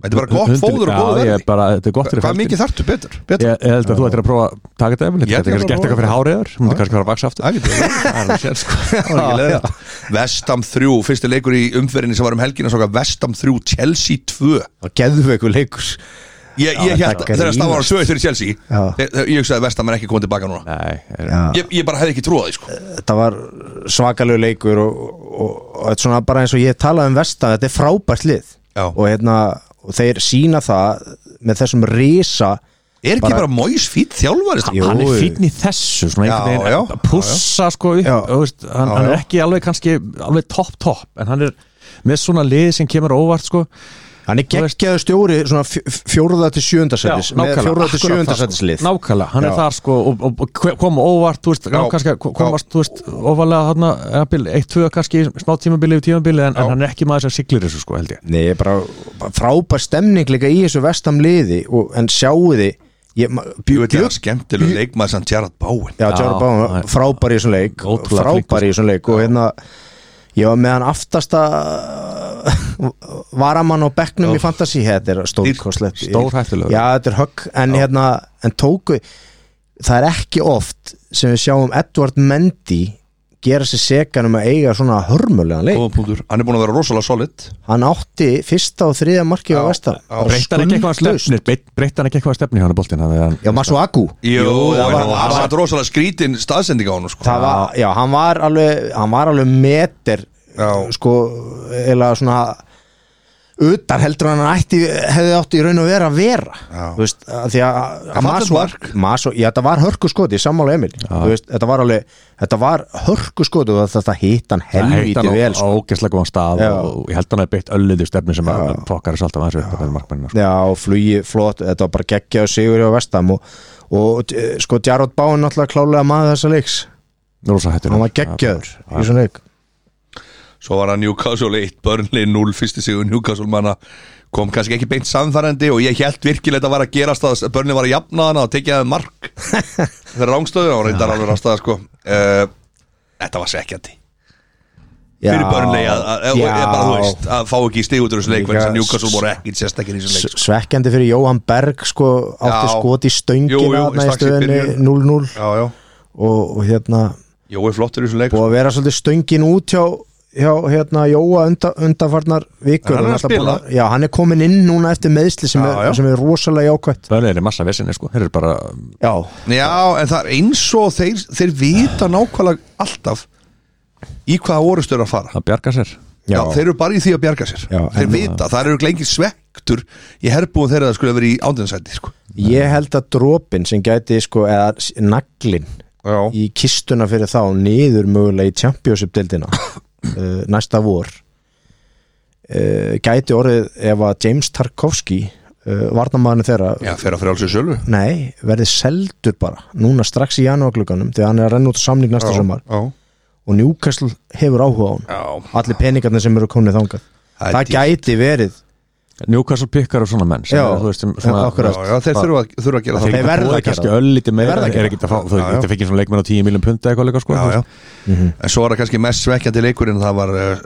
Speaker 1: Þetta er bara gott fóður og góðu
Speaker 3: Já,
Speaker 1: verði
Speaker 3: ég er bara, þetta er gott fyrir
Speaker 1: Hvað
Speaker 3: feldurinn.
Speaker 1: mikið þarftu betur? betur?
Speaker 3: Ég, ég held að þú ættir að prófa að taka þetta efinn
Speaker 1: Ég ætla
Speaker 3: Þetta
Speaker 1: að
Speaker 3: er gert
Speaker 1: prófa
Speaker 3: eitthvað fyrir háriðar Þú myndir kannski fara að vaksa aftur
Speaker 1: Það getur verið.
Speaker 3: Það er sér, sko.
Speaker 1: Það var ekki leiðinlegt. Vestam 3, fyrsti leikur í umferðinni sem var um helgina stráka, Vestam 3, Chelsea 2
Speaker 2: og geðveikur leikur
Speaker 1: Ég, ég
Speaker 2: þetta
Speaker 1: held, þegar það var 2 fyrir Chelsea
Speaker 2: Já.
Speaker 1: þegar- þegar ég hugsaði að Vestam er ekki komið tilbaka núna
Speaker 3: Nei, er,
Speaker 2: Já.
Speaker 1: Ég, ég bara hefði ekki trúað því sko
Speaker 2: þetta var svakalegu leikur og, og, og, og þetta er svona bara eins og ég talaði um vestan, þetta er frábært lið
Speaker 1: Já.
Speaker 2: og, hérna, og þeir sína það með þessum risa
Speaker 1: Er ekki bara, bara Mois fýtt þjálfari? sko? strákar?
Speaker 2: Jú.
Speaker 3: Hann er fínn í þessu svona
Speaker 1: Já,
Speaker 3: einhvern
Speaker 1: já,
Speaker 3: veginn að pussa sko upp
Speaker 2: Já.
Speaker 3: og, veist, hann,
Speaker 1: Já, já.
Speaker 3: hann er ekki alveg kannski alveg topp topp en hann er með svona lið sem kemur óvart sko
Speaker 2: hann er
Speaker 3: Þú veist-
Speaker 2: geggjaðu stjóri svona fjó- fjórða til sjöndasætis með fjórða til
Speaker 3: akkurat það,
Speaker 2: sjöndasætis
Speaker 3: sko.
Speaker 2: lið
Speaker 3: nákvæmlega,
Speaker 2: Já.
Speaker 3: hann er þar sko og, og, og hve- kom óvart, þú veist, já, kannski, kom- komast þú veist, ofalega þarna eða bil, eitt, tvö kannski, smá tímabili yfir tímabili en, en hann er ekki maður sem siglir þessu sko, held ég
Speaker 2: Nei, ég er bara, bara frábær stemning líka í þessu vestam liði og, en sjáu þið ég, ma-
Speaker 1: Jú,
Speaker 2: bjö,
Speaker 1: þetta er skemmtileg leikmaður sem Gerard Bowen
Speaker 2: Já,
Speaker 3: Já,
Speaker 2: Jared Bowen,
Speaker 3: nei.
Speaker 2: frábær í þessum leik
Speaker 3: Ótrúlega
Speaker 2: frábær í þessum leik og hérna ég var með hann aftasta varamann á bekknum í fantasi þetta er stórkostlegt
Speaker 3: Stórhættulegur.
Speaker 2: já þetta er högg en, hérna, en tóku það er ekki oft sem við sjáum Edward Mendy gera sér sekan um að eiga svona hörmulegan leik
Speaker 1: Góða punktur, hann er búin að vera rosalega solid
Speaker 2: hann átti fyrsta og þriðja markið á vestan
Speaker 3: Breyttan ekki eitthvað að stefni breytt- Breytti hann ekki eitthvað að stefni hann að boltinn þannig að-
Speaker 2: já Masuaku
Speaker 1: Jú, það
Speaker 2: það
Speaker 1: var,
Speaker 2: var-
Speaker 1: var, var rosalega skrítin staðsending á hann sko.
Speaker 2: það var, já, hann var alveg hann var alveg meter
Speaker 1: Já.
Speaker 2: sko, eða svona utar heldur en hann ætti, hefði átt í raun og vera að vera
Speaker 1: Já.
Speaker 2: þú veist, að því að
Speaker 1: En
Speaker 2: að
Speaker 1: fallegt
Speaker 2: Maso-
Speaker 1: mark.
Speaker 2: Maso- já, þetta var hörku skoti, sammála Emil Þú veist, þetta var alveg, þetta var hörku skoti og þetta hitt hann
Speaker 3: Það heitt hann
Speaker 2: helvíti vel
Speaker 3: á
Speaker 2: sko.
Speaker 3: ógeðslega góðan stað
Speaker 2: Já.
Speaker 3: og ég held hann að beitt ölluðu stefni sem að fokkar er alltaf aðeins upp að það er markmennina
Speaker 2: já, og flugi flott, þetta var bara geggjaðu sigur á vestam og, og eh, sko, Jarrod Báin náttúrulega klálega maður þessa leiks
Speaker 3: Rósa hættur
Speaker 2: hann var geggjaður í svona leik
Speaker 1: Svo var hann Newcastle 1, Burnley 0 Fyrsti sigur Newcastle manna Kom kannski ekki beint samfærandi Og ég held virkilega þetta var að gerast að Burnley var að jafna hana og tekja það mark Þegar rángstöðu og reyndar alveg rastað sko. uh, Þetta var sekjandi Fyrir Burnley að, að, að,
Speaker 2: Já.
Speaker 1: að, bara, þú veist, að fá ekki stig út úr þessu leik
Speaker 2: Líka
Speaker 1: vegna þess að Newcastle
Speaker 2: s-
Speaker 1: voru ekki sérstakir í þessu leik sko.
Speaker 2: S- svekkjandi fyrir Jóhann Berg sko, átti
Speaker 1: Já.
Speaker 2: skot í
Speaker 1: Jú, jú,
Speaker 2: stöngina þarna í
Speaker 1: strax í
Speaker 2: stöðinni
Speaker 1: byrjun.
Speaker 2: 0-0 og,
Speaker 1: Já, já
Speaker 2: og hérna
Speaker 1: Jói flottur í þessu leik sko.
Speaker 2: og að vera svolítið stöngin út hjá, hjá hérna, Jóa undan, undanfarnar vikur
Speaker 1: En hann er að
Speaker 2: alltaf búinn
Speaker 1: spila.
Speaker 2: já, hann er komin inn núna eftir meðsli sem,
Speaker 1: Já, já.
Speaker 2: er, sem er rosalega jákvætt
Speaker 3: Bönnið er í massa vissinni sko, þeir eru bara
Speaker 2: já,
Speaker 1: Já, en það er eins og þeir, þeir vita nákvæmlega alltaf í hvaða orust eru að fara
Speaker 3: að bjarga sér
Speaker 1: Já,
Speaker 2: Já.
Speaker 1: þeir eru bara í því að bjarga sér
Speaker 2: Já,
Speaker 1: Þeir
Speaker 2: en-
Speaker 1: vita, það eru lengi svektur í herrbúin þeirra að það skulle vera í ándinsæti sko.
Speaker 2: ég held að dropin sem gæti sko, eða s- naglin
Speaker 1: Já,
Speaker 2: í kistuna fyrir þá niður mögulega í Championship-deildina uh, næsta vor uh, gæti orðið ef að James Tarkovski uh, varnamæðinu þeirra
Speaker 1: Já fyrir að fyrir alls í sölu
Speaker 2: nei, verði seldur bara núna strax í janúarklukkanum þegar hann er að renna út á samning næsta sumar
Speaker 1: já,
Speaker 2: og Newcastle hefur áhuga á hann
Speaker 1: já,
Speaker 2: allir peningarnir sem eru komnið þangað
Speaker 1: Það er
Speaker 2: það, gæti verið,
Speaker 3: Newcastle pikkar og svona menn sem
Speaker 2: Já,
Speaker 3: eru, þú veist, sem
Speaker 2: já,
Speaker 3: svona,
Speaker 2: akkurat.
Speaker 1: já, já þeir þurfa, að- þurfa að gera
Speaker 2: Þeir
Speaker 1: það
Speaker 2: verða að
Speaker 3: það
Speaker 2: gera
Speaker 3: kannski
Speaker 2: það.
Speaker 3: öllítið meira
Speaker 2: Þeir verða að
Speaker 3: er
Speaker 2: gera
Speaker 3: ekkert að fá, þú
Speaker 1: Já, já.
Speaker 3: veist, það fekk svona leikmenn á 10 miljum punta eitthvað líka sko
Speaker 1: Já,
Speaker 3: þú
Speaker 1: já
Speaker 3: veist.
Speaker 2: Mhm.
Speaker 1: En svo var það kannski mest svekkjandi leikurinn það var uh,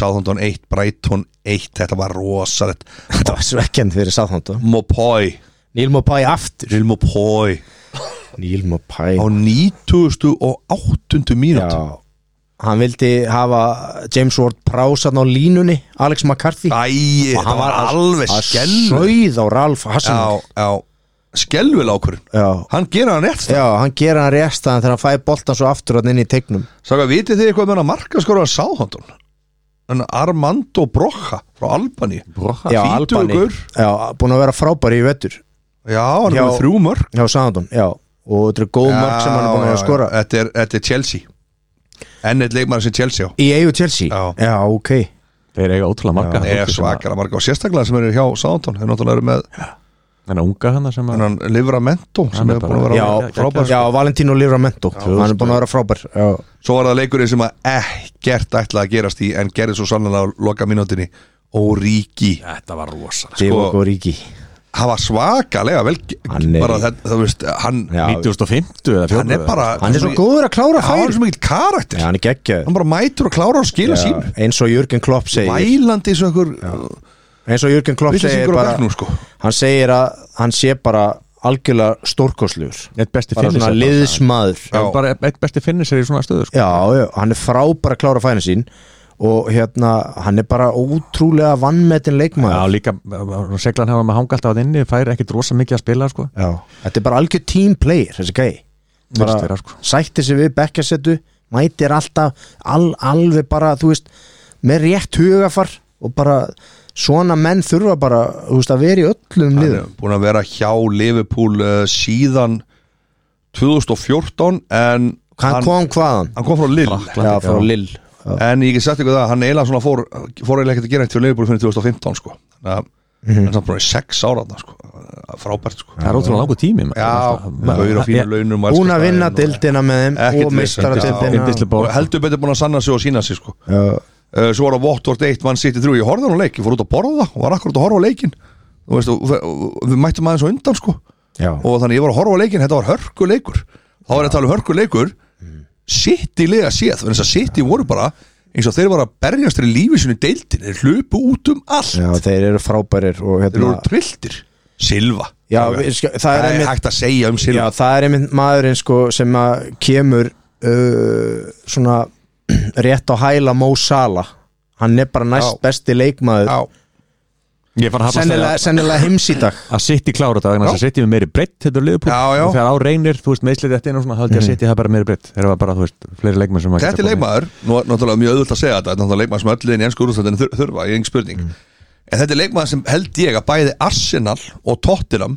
Speaker 1: Southampton 1, Brighton 1 þetta var rosalett
Speaker 2: þetta var svekkjand fyrir sáþánda
Speaker 1: Mopoi,
Speaker 2: Neil Mopay aftur
Speaker 1: Real Mopoi
Speaker 2: Neil Mopay
Speaker 1: á 90 og 8 mínútu
Speaker 2: Já, hann vildi hafa James Ward Prowse hann á línunni Alex McCarthy
Speaker 1: Æ,
Speaker 2: Og
Speaker 1: það var alveg
Speaker 2: að
Speaker 1: skelvil
Speaker 2: sauð á Ralf Hassan
Speaker 1: Já, já, skelvil ákurinn
Speaker 2: já.
Speaker 1: Hann gera hann rétt
Speaker 2: já, hann gera hann réstaðan þegar hann fæði boltan svo aftur hann inn í tegnum
Speaker 1: Saka, vitið þið eitthvað um með hann að marka skora að Sáhondun? En Armando Brocha frá Albani
Speaker 3: Brocha.
Speaker 2: Já,
Speaker 1: Tvítugur.
Speaker 2: Albani Já, búin að vera frábæri í vettur
Speaker 1: Já, hann
Speaker 2: Já.
Speaker 1: hefur þrjú mörg
Speaker 2: Já, Sándon, já Og þetta er góð mörg sem hann er búin að vera að skora
Speaker 1: þetta er, þetta er Chelsea Enn eitt leikmaður sem Chelsea á
Speaker 2: Í eigu Chelsea?
Speaker 1: Já.
Speaker 2: ok
Speaker 3: þeir eiga ótrúlega marga
Speaker 1: Það er svakara marka og sérstaklega sem eru hjá Sáhondun Þeir náttúrulega eru með
Speaker 3: þannig unga hann sem að
Speaker 1: hennan Livramento sem
Speaker 3: Hann er
Speaker 1: hefur búin að
Speaker 3: bara-
Speaker 1: vera
Speaker 2: Já,
Speaker 1: frábær
Speaker 2: Já, Valentino Livramento Hann er búin að vera frábær Já,
Speaker 1: Svo var það leikurinn sem að ekkert ætlaði að gerast í en gerði svo sannlega á loka mínútinni og Ríki
Speaker 3: þetta var
Speaker 1: Sko,
Speaker 3: rosa
Speaker 2: Diego Gorigi
Speaker 1: hann var svakalega vel
Speaker 2: Hann er-
Speaker 1: bara þetta, þú veist, hann,
Speaker 2: Já,
Speaker 3: 1950 eða 40
Speaker 1: hann er bara
Speaker 2: Hann er svo góður að
Speaker 1: Já,
Speaker 2: klára
Speaker 1: hann er
Speaker 2: færi
Speaker 1: svo mikill karakter
Speaker 2: Já, hann er geggjaður
Speaker 1: hann bara mætur og klárar að skila
Speaker 2: Já,
Speaker 1: sínu
Speaker 2: Eins og Jürgen Klopp segir
Speaker 1: vælandi svo einhver
Speaker 2: Eins og Jürgen Klopp segir
Speaker 1: vittlisingur á
Speaker 2: bara
Speaker 1: bekknum sko
Speaker 2: Hann segir að hann sé bara algjörlega stórkoslugur
Speaker 3: eitt besti
Speaker 2: Bara svona
Speaker 3: finnir
Speaker 2: liðsmaður
Speaker 3: bara eitt besti finnir í svona stöðu sko.
Speaker 2: Já, já, hann er frábæra að klára fæna sín og hérna, hann er bara ótrúlega vannmetin
Speaker 3: Já,
Speaker 2: leikmaður
Speaker 3: líka, uh, seglan hafa með hanga alltaf að inni, fær ekkit rosa mikið að spila sko.
Speaker 2: já. Þetta er bara algjör team player, þessi gæi bara
Speaker 3: Mistera, sko.
Speaker 2: sætti sig við bekkjasettu mætir alltaf al, alveg bara, þú veist, með rétt hugafar og bara svona menn þurfa bara, þú veist, að vera í öllum
Speaker 1: hann
Speaker 2: liðum
Speaker 1: er búin að vera hjá Liverpool uh, síðan 2014 en
Speaker 2: Hann kom hvaðan?
Speaker 1: hann kom frá Lill
Speaker 2: Já, frá Lill
Speaker 1: en ég get sagt ykkur það, hann eiginlega svona fór fór eiginlega ekkert að gera eitt fyrir Liverpool fyrir 2015 sko þannig að
Speaker 2: Mhm.
Speaker 1: hann er samt bara í sex ára þarna, sko. frábært sko
Speaker 3: það er ótrúlega langur tími maður.
Speaker 1: Já,
Speaker 3: Það-
Speaker 1: gauður á fínu launum og
Speaker 2: Búin
Speaker 1: elskar
Speaker 2: að vinna
Speaker 1: staðinn og-
Speaker 2: dildina með þeim
Speaker 1: Ekkert
Speaker 2: og
Speaker 1: vesen,
Speaker 2: mistara
Speaker 1: já.
Speaker 3: Yndisleg
Speaker 2: dildina
Speaker 3: bók.
Speaker 1: og heldur betur búin að sanna sig og sína sig sko
Speaker 2: Já,
Speaker 1: uh, svo var það Votvort 1, mann sitt í þrjú ég horfði hann á leik, ég fór út að borða og var akkurat að horfa á leikin og, veist, og, og, og við mættum aðeins á undan sko
Speaker 2: já.
Speaker 1: og þannig ég var að horfa á leikin, þetta var hörku
Speaker 2: Mm.
Speaker 1: leikur þá var ég að tala um hörku leikur sitt í lega séð, þannig að sitt í voru bara eins og þeir voru að berjast þeir í lífi sinni deildin, þeir hlupu út um allt
Speaker 2: Já, þeir eru frábærir og
Speaker 1: þeir
Speaker 2: hérna
Speaker 1: voru trilltir Silva
Speaker 2: Já,
Speaker 1: það,
Speaker 2: við skal- það er
Speaker 1: er
Speaker 2: einmitt-
Speaker 1: hægt að segja um
Speaker 2: Já,
Speaker 1: Silva
Speaker 2: það er einmitt maðurinn sko sem að kemur uh, svona rétt á hæla Mo Salah hann er bara næst
Speaker 1: Já.
Speaker 2: besti leikmaður
Speaker 3: Ég fann að hallast
Speaker 2: sennilega,
Speaker 3: þegar
Speaker 2: sennilega heims í dag
Speaker 3: að sitt í klára þetta vegna þess að sitt í með meiri breytt þetta er liðbúl
Speaker 1: Já, já.
Speaker 3: og þegar á reynir, þú veist, meðslið þetta inn og svona haldi ég að sitt í það bara meiri breytt þegar það var bara, þú veist, fleiri leikmenn sem að
Speaker 1: Þetta
Speaker 3: geta
Speaker 1: er
Speaker 3: komið.
Speaker 1: leikmaður, nú er náttúrulega mjög auðvöld að segja þetta þetta er náttúrulega leikmaður sem öll liðin í ennsku úrústættinu þurfa, ég er engin spurning
Speaker 2: Mm.
Speaker 1: en þetta er leikmaður sem held ég að bæði Arsenal og Tottenham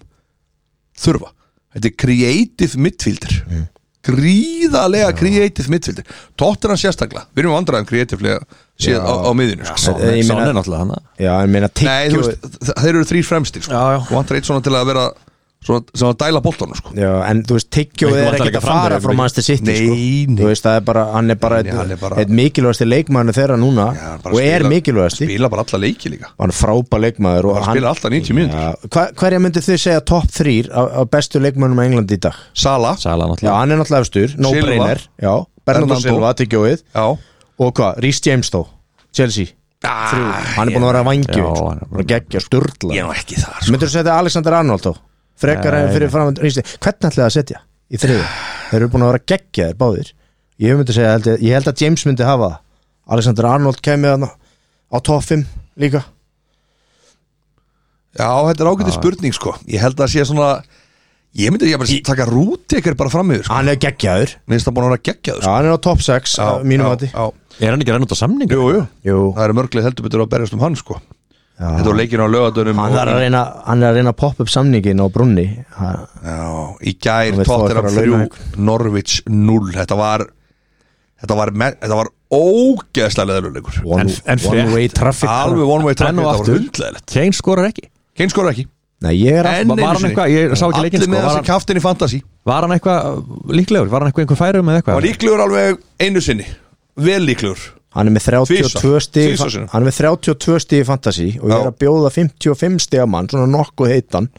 Speaker 1: þurfa, þetta er creative midfielder
Speaker 2: Mm.
Speaker 1: gríðarlega creative midfielder Tottenham sérstaklega, við erum vandræðum creatively séð
Speaker 2: Já.
Speaker 1: á, á miðinu sko.
Speaker 3: Son
Speaker 2: Ég
Speaker 3: er-
Speaker 2: meina-
Speaker 3: Son er náttúrulega hana
Speaker 2: Já, ég meina
Speaker 1: Nei, þú
Speaker 2: tyggjóið
Speaker 1: veist, þ- þeir eru þrýr fremstir sko.
Speaker 3: Já, já.
Speaker 1: og vantar eitt svona til að vera svona, sem að dæla boltanum sko.
Speaker 2: Já, en þú veist, tyggjóið
Speaker 3: Veitum
Speaker 2: er
Speaker 3: alltaf
Speaker 2: ekkert
Speaker 3: líka
Speaker 2: að fara
Speaker 3: framherjar,
Speaker 2: frá
Speaker 3: veitum.
Speaker 2: Manchester City
Speaker 1: Nei,
Speaker 2: sko.
Speaker 1: nei.
Speaker 2: Þú veist, það er bara, hann er bara
Speaker 1: Nei, hann er bara-
Speaker 2: eitt mikilvægasti leikmaður þeirra núna
Speaker 1: Já, bara
Speaker 2: og er
Speaker 1: spila-
Speaker 2: mikilvægasti
Speaker 1: spila bara alla leiki líka
Speaker 2: og hann er frábær leikmaður og
Speaker 1: bara spila alltaf 90 mínútur
Speaker 2: Já, hva, hverja myndu þið segja top 3 af, af bestu leikmönnum á Englandi í dag?
Speaker 1: Sala,
Speaker 3: Sala
Speaker 2: Já,
Speaker 3: náttúrulega
Speaker 2: hann er náttúrulega efstur, no
Speaker 1: Silva.
Speaker 2: brainer Já, Bernardo
Speaker 1: Bernardo.
Speaker 2: Silva, tyggjóið
Speaker 1: já
Speaker 2: og hvað, Rhys James þó, Chelsea Þrjú,
Speaker 3: Ah,
Speaker 2: hann er búin að vera
Speaker 3: Já,
Speaker 2: vangjum
Speaker 3: hann er
Speaker 2: hann
Speaker 3: búinn
Speaker 2: er geggja, sturla
Speaker 1: er ekki þar
Speaker 3: sko.
Speaker 2: Myndur þú setja Alexander Arnold þó? Frekar
Speaker 3: Nei.
Speaker 2: en fyrir fram Rhys James Hvernig ætlaði að setja í þriðu? Þeir eru búin að vera geggja þér báðir Ég myndi segja, held ég, ég held að James myndi hafa það. Alexander Arnold kemur hann á top 5 líka
Speaker 1: Já, þetta er
Speaker 3: Ah.
Speaker 1: ágætið spurning sko Ég held að það sé svona Ég myndi ég bara taka rúti ekkert bara fram
Speaker 3: Ah.
Speaker 1: yfir sko.
Speaker 2: Hann er geggjaður
Speaker 1: Mér finnst það búin að vera geggjaður
Speaker 2: Já,
Speaker 1: sko.
Speaker 2: hann er á top 6
Speaker 1: Já,
Speaker 2: mínum
Speaker 1: já,
Speaker 2: vati
Speaker 1: já.
Speaker 3: Er hann ekki að renna út á samningu?
Speaker 1: Jú, jú
Speaker 2: Jú,
Speaker 1: Það eru mörglið heldur betur að berjast um hann sko
Speaker 2: já.
Speaker 3: Ah.
Speaker 1: Þetta var leikinn á lögadunum
Speaker 2: hann er að reyna hann er að reyna að poppa upp samningin á brunni Ha-
Speaker 1: Já, í gær
Speaker 2: Hann vill fá
Speaker 1: Tottenham
Speaker 2: einhverja
Speaker 1: 3
Speaker 2: launa.
Speaker 1: Norwich 0 Þetta var Þetta var, me- þetta var ógeðslega leðurleikur
Speaker 2: one,
Speaker 3: En- en
Speaker 2: one
Speaker 3: frétt.
Speaker 2: way traffic
Speaker 1: Alveg one way
Speaker 3: Enn
Speaker 1: traffic
Speaker 3: og
Speaker 1: Þetta var
Speaker 3: aftur.
Speaker 1: hundleðilegt
Speaker 3: Kane skorar ekki
Speaker 1: Keinn skora ekki
Speaker 2: Nei, ég er
Speaker 1: En
Speaker 2: alltaf
Speaker 3: var
Speaker 1: einu
Speaker 3: hann
Speaker 1: sinni.
Speaker 3: eitthvað? Ég sá ekki leikinn,
Speaker 1: Allir
Speaker 3: sko.
Speaker 1: með
Speaker 3: Var
Speaker 1: þessi
Speaker 3: hann-
Speaker 1: kaftin í fantasi
Speaker 3: Var hann eitthvað líklegur? Var hann eitthvað einhver færum eða
Speaker 1: Var
Speaker 3: eitthvað?
Speaker 1: líklegur alveg einu sinni Vel líklegur
Speaker 2: Hann er með 32
Speaker 1: Tvisvar.
Speaker 2: stig
Speaker 1: Tvisvar sinnum.
Speaker 2: Hann er með 32 stig í fantasy og ég
Speaker 1: Já.
Speaker 2: er að bjóða 55 stiga mann svona nokkuð heitan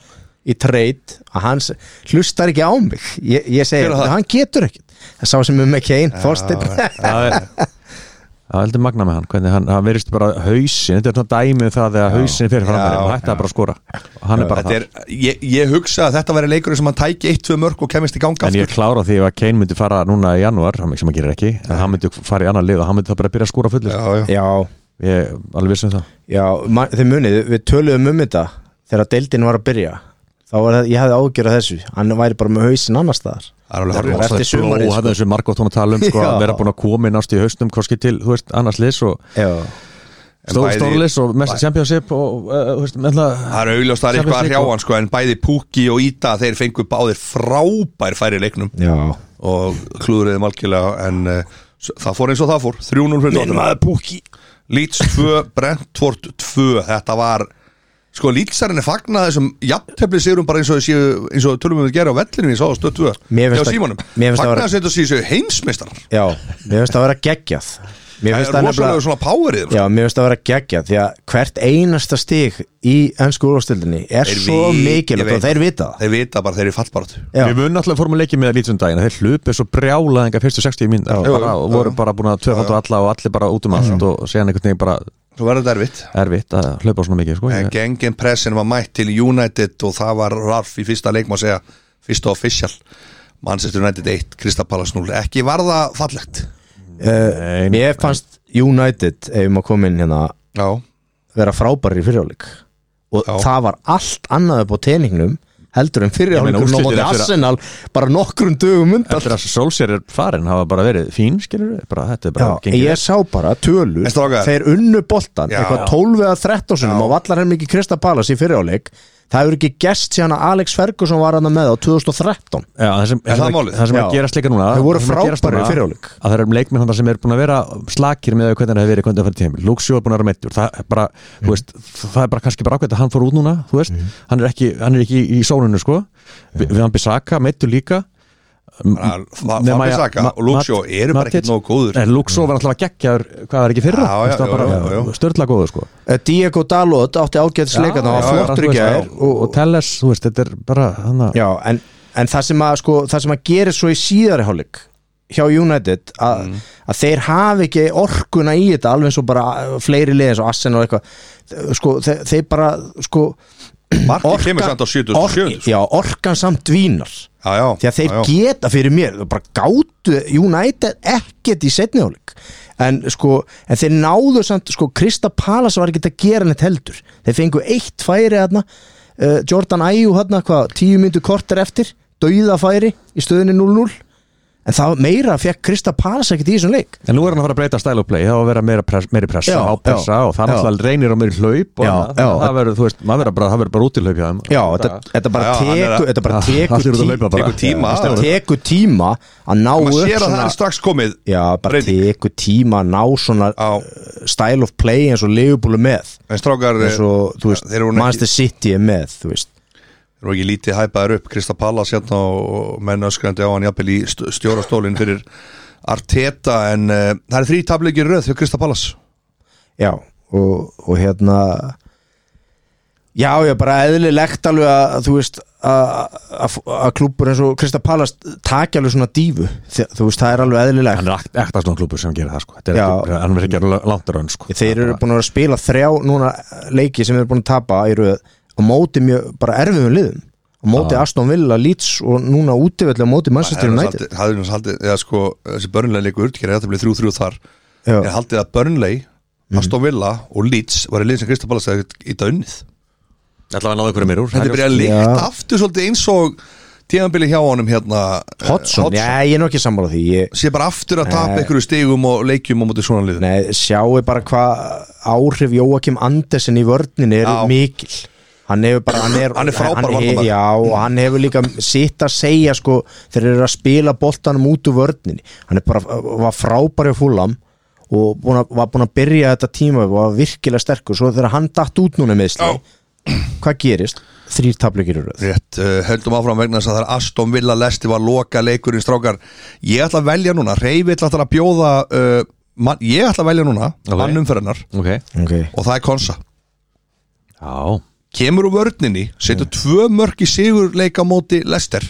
Speaker 2: í treyt að hann s- hlustar ekki á mig ég, ég segi,
Speaker 1: Hver er það?
Speaker 2: hann getur ekkit það sá sem er með Kane, Þorsteinn
Speaker 3: Það er- það er heldur magna með hann hvernig hann, hann verist bara hausin þetta er svona dæmið það þegar hausin fyrir framverðin
Speaker 1: Já,
Speaker 3: og hætti að bara að skora og hann er bara
Speaker 1: Þetta
Speaker 3: það
Speaker 1: er, ég, ég hugsa að þetta væri leikur sem hann tæki 1-2 mörg og kemist í ganga
Speaker 3: en ég er
Speaker 1: aftur
Speaker 3: klára því ef að Kane myndi fara núna í janúar hann- sem hann gerir ekki en hann myndi fara í annar lið og hann myndi það bara að byrja að skora fullir
Speaker 1: já, já.
Speaker 2: Já,
Speaker 3: ég er alveg vissum það
Speaker 2: já, ma- þið munið við töluðum um þetta þegar deildin var að byrja þá var það, ég hefði ágjörð þessu hann væri bara með hausinn annars staðar
Speaker 1: Það er alveg
Speaker 2: Þetta er
Speaker 1: horfið.
Speaker 2: eftir sumarið,
Speaker 3: og
Speaker 2: sko.
Speaker 3: það er þessu margótt hún að tala um sko,
Speaker 2: Já.
Speaker 3: að vera búin að koma inn ást í haustum hvorski til þú veist, annars liðs og
Speaker 2: Já
Speaker 1: En
Speaker 3: stór
Speaker 1: bæði-
Speaker 3: stórlis og mesta championship og uh, þú veist,
Speaker 1: það
Speaker 3: menna,
Speaker 1: er augljóst að það er eitthvað að hrjá
Speaker 3: Champions League
Speaker 1: hann sko, en bæði Pukki og Íta þeir fengu báðir frábær færi í leiknum
Speaker 2: Já
Speaker 1: og klúðriði malkilega en uh, það fór eins og það fór 3-0 fyrir Tottenham.
Speaker 2: maður púki
Speaker 1: Leeds 2, Brentford 2 þetta var sko Leedsarinn er fagnað þessum jafntefli sigurum bara eins og, þau séu, eins og tölum við að gera á vellinu í sáða stöð 2
Speaker 2: Mér finnst
Speaker 1: hjá
Speaker 2: að-
Speaker 1: Símanum
Speaker 2: mér finnst að
Speaker 1: fagnað
Speaker 2: vera-
Speaker 1: þess að þetta séu heimsmeistarar
Speaker 2: Já, mér finnst það að vera geggjað Mér
Speaker 1: það
Speaker 2: finnst
Speaker 1: er
Speaker 2: það
Speaker 1: rosalega
Speaker 2: nefnilega
Speaker 1: svona power í þeim sko.
Speaker 2: Já, mér finnst það að vera geggjað Því að hvert einasta stig í ennsku úrvastildinni er
Speaker 1: Þeir
Speaker 2: svo
Speaker 1: vit- ég veit
Speaker 2: mikilvægt og þeir vita það
Speaker 1: þeir vita bara þeir eru fallbarátt
Speaker 2: Já.
Speaker 3: Við munum alltaf fórum að leikja með það lítið um daginn að Þeir hlupu svo brjálaði enga fyrstu 60 mín bara,
Speaker 1: Jú, jú,
Speaker 3: og voru
Speaker 1: já.
Speaker 3: bara búin að tvöfaldu alla og allir bara út um allt og séðan einhvern veginn bara
Speaker 1: svo verður þetta erfitt
Speaker 3: erfitt að hlaupa svona mikið sko.
Speaker 1: En
Speaker 3: Ég-
Speaker 1: gengin pressin var mætt til United og það var Ralf í fyrsta leik má segja, fyrsta official Manchester United 1, Krista Palace 0 ekki var það fallegt
Speaker 2: Eh,
Speaker 3: Nei,
Speaker 2: Mér fannst United, ef maður kom inn hérna
Speaker 1: Já,
Speaker 2: vera frábæri í fyrirjáleik og
Speaker 1: Já.
Speaker 2: það var allt annað upp á teningnum heldur en
Speaker 3: Ég meina,
Speaker 2: fyrirjáleikum
Speaker 3: úrslitin
Speaker 2: og móti
Speaker 3: eftir að-
Speaker 2: Arsenal bara nokkrum dögum undan
Speaker 3: Eftir að Solskjær er farin hafa bara verið fín skilur bara, þetta er bara
Speaker 2: Já,
Speaker 3: gengið
Speaker 2: ég sá bara tölur
Speaker 1: En strákar-
Speaker 2: þeir unnu boltan,
Speaker 1: Já.
Speaker 2: eitthvað 12 eða 13 sinum
Speaker 1: Já.
Speaker 2: og vallar henni mikið Krista Palas í fyriráleik það hefur ekki gest síðan að Alex Ferguson var hann með á 2013
Speaker 3: Já, það sem,
Speaker 1: Er það
Speaker 3: sem,
Speaker 1: málið?
Speaker 3: það sem er
Speaker 2: Já.
Speaker 3: að gerast líka núna
Speaker 2: Þeir voru
Speaker 3: það sem er að gerast
Speaker 2: frábærir
Speaker 3: núna,
Speaker 2: í fyrirháleik.
Speaker 3: Að það eru leikminn hann sem er búin að vera slakir með hvernig það hefur verið hvernig það fyrir tími Luxjó er búin að vera meittur það er bara,
Speaker 1: Mm.
Speaker 3: þú veist, það er bara kannski bara ákveðt að hann fór út núna þú veist, hann, er ekki, hann er ekki í sólinu sko.
Speaker 1: Mm.
Speaker 3: Vi, Við hann Bissaka, meittur líka Nema
Speaker 1: Fabi
Speaker 3: ég-
Speaker 1: Saka
Speaker 3: Ma-
Speaker 1: og Luxjó
Speaker 3: Mat-
Speaker 1: eru bara
Speaker 3: Matic-
Speaker 1: ekki nógu góður
Speaker 3: Nei, Luxo var alltaf að geggja hvað var ekki fyrra
Speaker 1: Já, já, já, já, já.
Speaker 3: Störla góður sko
Speaker 2: Eh, Diego Dalot átti ágætis leikarn og var
Speaker 1: já,
Speaker 2: flottur í gær
Speaker 3: og, og
Speaker 2: og,
Speaker 3: Telles, þú veist, þetta er bara hana,
Speaker 2: já, en, en það sem að sko, það sem að gera svo í síðari hálfleik hjá United að,
Speaker 1: Mm.
Speaker 2: að þeir hafi ekki orkuna í þetta alveg eins og bara fleiri liðin og Assen og eitthvað sko, þeir, þeir bara sko,
Speaker 1: Markið kemur samt á 77
Speaker 2: ork, já, orkan samt dvínar
Speaker 1: Já, já,
Speaker 2: því að þeir
Speaker 1: já, já.
Speaker 2: geta fyrir mér þau bara gátu United ekkert í setniháleik en sko en þeir náðu samt, sko Krista Palas var ekki að gera neitt heldur þeir fengu eitt færi hérna uh, Jordan Ayew hérna, hvað, tíu myndu korter eftir dauða færi í stöðunni 0-0 en það meira fekk Krista Palas ekkert í þessum leik
Speaker 3: En nú er hann að fara að breyta style of play, það var að vera meira press, meiri pressa,
Speaker 2: Já,
Speaker 3: ápressa
Speaker 2: já,
Speaker 3: og það
Speaker 2: já.
Speaker 3: náttúrulega reynir á meiri hlaup og
Speaker 2: Já,
Speaker 3: annað.
Speaker 2: já.
Speaker 3: það verður, þú veist, maður verður bara, það verður bara útilaup hjá þeim
Speaker 2: Já, þetta, þetta bara
Speaker 1: Já, já, hann er
Speaker 2: tekur
Speaker 1: að-
Speaker 2: þetta bara
Speaker 3: Ah, allir
Speaker 2: tekur tí-
Speaker 3: eru að hlaupa bara.
Speaker 1: Tekur tíma,
Speaker 2: Já,
Speaker 1: já.
Speaker 2: þetta tekur tíma að ná upp
Speaker 1: maður sér að það
Speaker 2: svona-
Speaker 1: er strax komið
Speaker 2: hérna. Já, bara
Speaker 1: breyting.
Speaker 2: teku tíma að ná svona
Speaker 1: Á.
Speaker 2: uh, style of play eins og Liverpool er með
Speaker 1: en strákar,
Speaker 2: eins og, þú veist,
Speaker 1: þeir eru nú ekki-
Speaker 2: Manchester City er með þú veist,
Speaker 1: Þeir eru eh, ekki lítið hæpaður upp Krista Pallas hérna og menn öskrandi á hann jafnvel í st- stjórastólinn fyrir Arteta en uh, það er þrý tableikir röð hjá Krista Pallas
Speaker 2: já og, og hérna já, já, bara eðlilegt alveg að þú veist að- að að klúppur eins og Krista Palast taki alveg svona dífu, Þe- þú veist, það er alveg eðlilegt
Speaker 3: Hann er akt- ekta svona klubur sem gerir það sko Þetta er
Speaker 2: Já.
Speaker 3: ekki, hann verður ekki að gera langt raun sko
Speaker 2: þeir eru búin að vera að spila þrjá núna leiki sem þeir eru búin að tapa í röð á móti mjög, bara erfiðum liðum á móti Aston Villa, Leeds og núna útivelli á móti Manchester United
Speaker 1: Það er haldið, eða sko þessi Burnley leikur urtkjæri, þetta bleið 3-3 þar
Speaker 2: Já. Mhm.
Speaker 1: en haldið að Burnley, Aston Villa og Leeds var í liðin sem Krista Pallas hefði ít að unnið
Speaker 3: Þetta var náðu hverju mér úr
Speaker 1: Þetta er byrjað að líkt
Speaker 2: Já.
Speaker 1: aftur svolítið eins og tíðanbili hjá honum hérna eh,
Speaker 2: Hodgson, já ég er nú ekki sammála því ég,
Speaker 1: sé bara aftur að tapa
Speaker 2: Nei.
Speaker 1: einhverju stigum og leikjum á móti svona liðum
Speaker 2: nei, sjáu bara hvað áhrif Jóakim Andersen í vörninni eru
Speaker 1: Já.
Speaker 2: mikil hann hefur bara, hann er,
Speaker 1: Hann er frábær
Speaker 2: he-
Speaker 1: varnarmaður.
Speaker 2: já, og hann hefur líka sitt að segja sko, þeir eru að spila boltanum út úr vörninni, hann er bara var frábær í fúlam og búin að, var búin að byrja þetta tíma og var virkilega sterkur, svo þegar hann datt út núna meðsli,
Speaker 1: Já.
Speaker 2: hvað gerist? þrýr taflökir eru röð
Speaker 1: Rétt, uh, höldum áfram vegna þess að það er Aston Villa lesti var loka leikurinn strákar Ég ætla að velja núna, Reyfi ætla alltaf að bjóða uh, man, Ég ætla að velja núna,
Speaker 3: Ok.
Speaker 1: okay. mannumferðinar
Speaker 3: Ok
Speaker 2: okay.
Speaker 1: Og það er Konsa
Speaker 3: Já
Speaker 1: Kemur úr vörninni,
Speaker 2: Mm.
Speaker 1: setur tvö mörk í sigurleika á móti Lester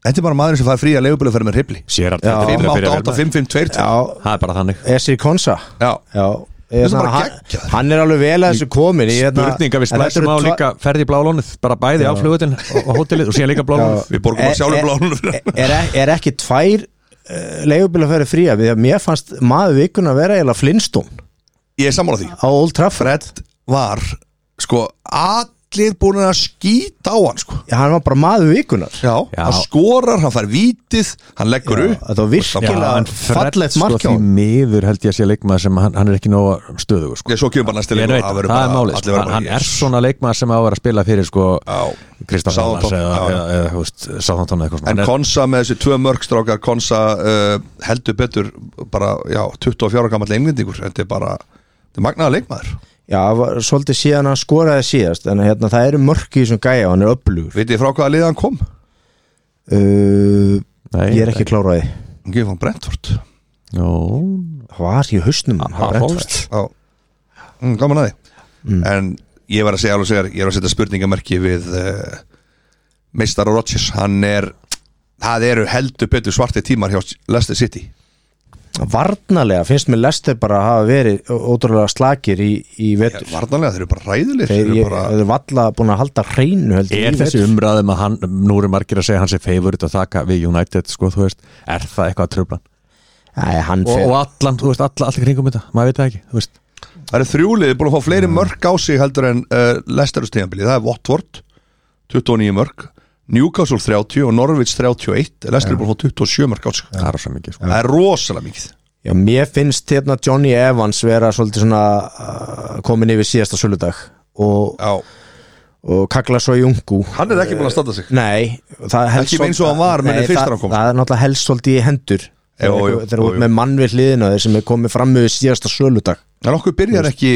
Speaker 1: Þetta er bara maðurinn sem fær frí að leifuböluferð með hrifli
Speaker 3: Sér að
Speaker 2: Já.
Speaker 3: þetta er byrjað að byrja hérna.
Speaker 1: 5-8-8-5-5-2
Speaker 2: já,
Speaker 3: Það er bara þannig
Speaker 2: Esri Konsa
Speaker 1: Já,
Speaker 2: Já, ég,
Speaker 1: er
Speaker 2: svona,
Speaker 1: bara
Speaker 2: hann,
Speaker 1: geggjaður.
Speaker 2: hann er alveg vel að þessu komin ég, hérna-
Speaker 3: Spurninga við
Speaker 2: en þetta eru
Speaker 3: splæsum á
Speaker 2: tva-
Speaker 3: líka ferði í blálónið Bara bæði á flugutin og og hótelið og síðan líka blálónið
Speaker 1: við borgum að
Speaker 2: Er-
Speaker 1: sjálfum
Speaker 2: er-
Speaker 1: blánum fyrir hann.
Speaker 2: er, er ekki tvær uh, leigubílafæri fría við að mér fannst maður vikun að vera eða Flintstone
Speaker 1: Ég er sammála því
Speaker 2: á Old Trafford
Speaker 1: Var, sko, allir búin að skýta á hann, sko
Speaker 2: hann var bara maður vikunar
Speaker 1: Já,
Speaker 3: Já.
Speaker 1: hann skorar, hann fær vítið, hann leggur
Speaker 2: Já,
Speaker 1: upp
Speaker 2: þetta var virkilega
Speaker 3: en Fred,
Speaker 2: fallegt
Speaker 3: sko,
Speaker 2: mark hjá
Speaker 3: Því
Speaker 2: honum.
Speaker 3: miður held ég að sé leikmaður sem hann, hann er ekki nóga stöðugur sko.
Speaker 1: Ég svo kemur bara næsta leikur
Speaker 3: Ég veit, það er málið sko. hann, hann er svona leikmaður sem á að vera að spila fyrir sko,
Speaker 1: Já.
Speaker 3: Kristján Hallas
Speaker 1: Southampton,
Speaker 3: eða,
Speaker 1: já, já.
Speaker 3: eða, eða þú veist, Southampton eða eitthvað svona.
Speaker 1: En
Speaker 3: Hann er-
Speaker 1: Konsa með þessi tvö mörgstrákar Konsa uh, heldur betur bara, já, 24 ára gammal englendingur Þetta er bara, þetta er magnaða leikmaður
Speaker 2: já, var svolítið síðan að skoraði síðast en hérna, það eru mörk í þessum gæja og hann er upplugur
Speaker 1: Vitið þið frá hvaða liða hann kom?
Speaker 2: uh,
Speaker 3: Nei,
Speaker 2: ég er ekki kláraði
Speaker 1: Hann gefur hann Brentford
Speaker 3: Nú,
Speaker 2: hvað er í hausnum á
Speaker 3: hann
Speaker 2: Brentford?
Speaker 3: fórst.
Speaker 1: Já, mm, gaman að því
Speaker 2: Mm.
Speaker 1: En ég var að segja alveg segjar Ég er að setja spurningamerki við uh, Meistar Rodgers Hann er, það eru heldur betur svarti tímar hjá Leicester City
Speaker 2: varnalega finnst mér Lester bara að hafa verið ótrúlega slakir í, í vetur
Speaker 1: Varnarlega, þeir eru bara ræðilir
Speaker 2: þeir
Speaker 1: eru
Speaker 2: ég-
Speaker 1: bara,
Speaker 2: þeir eru valla búin að halda hreinu heldur
Speaker 3: Er
Speaker 2: í
Speaker 3: þessi
Speaker 2: vetur.
Speaker 3: umræðum að hann, nú eru margir að segja hans er favorite að þakka við United, sko, þú veist, er það eitthvað að tröfla hann?
Speaker 2: Nei, hann
Speaker 3: Og,
Speaker 2: fer
Speaker 3: og allan, þú veist, alla, allir kringum þetta, maður veit það ekki, þú veist.
Speaker 1: Það eru þrjúlið, búin að fá
Speaker 2: Mm.
Speaker 1: fleiri mörg á sig heldur en uh, Leicesterus tíðanbili Það er Watford, 29 mörg Newcastle 30 og Norwich 31 Leicester er búin að fá 27 mörg á sig
Speaker 3: Það er svo mikið, sko.
Speaker 1: Það er rosalega mikið
Speaker 2: Já, mér finnst hérna Johnny Evans vera svolítið svona uh, komin yfir síðasta söludag og,
Speaker 1: Já,
Speaker 2: og kakla svo í ungu
Speaker 1: hann er ekki búin að standa sig
Speaker 2: Nei, það helst
Speaker 1: Ekki eins og hann var, menn er
Speaker 2: Nei,
Speaker 1: fyrst
Speaker 2: það-
Speaker 1: hann kom.
Speaker 2: Það er náttúrulega helst svolítið í hendur
Speaker 1: Jú, jú,
Speaker 2: Þeir eru
Speaker 1: jú,
Speaker 2: út
Speaker 1: jú.
Speaker 2: með mann við hliðina þeir sem er komið fram yfir síðasta söludag
Speaker 1: En okkur byrjar ekki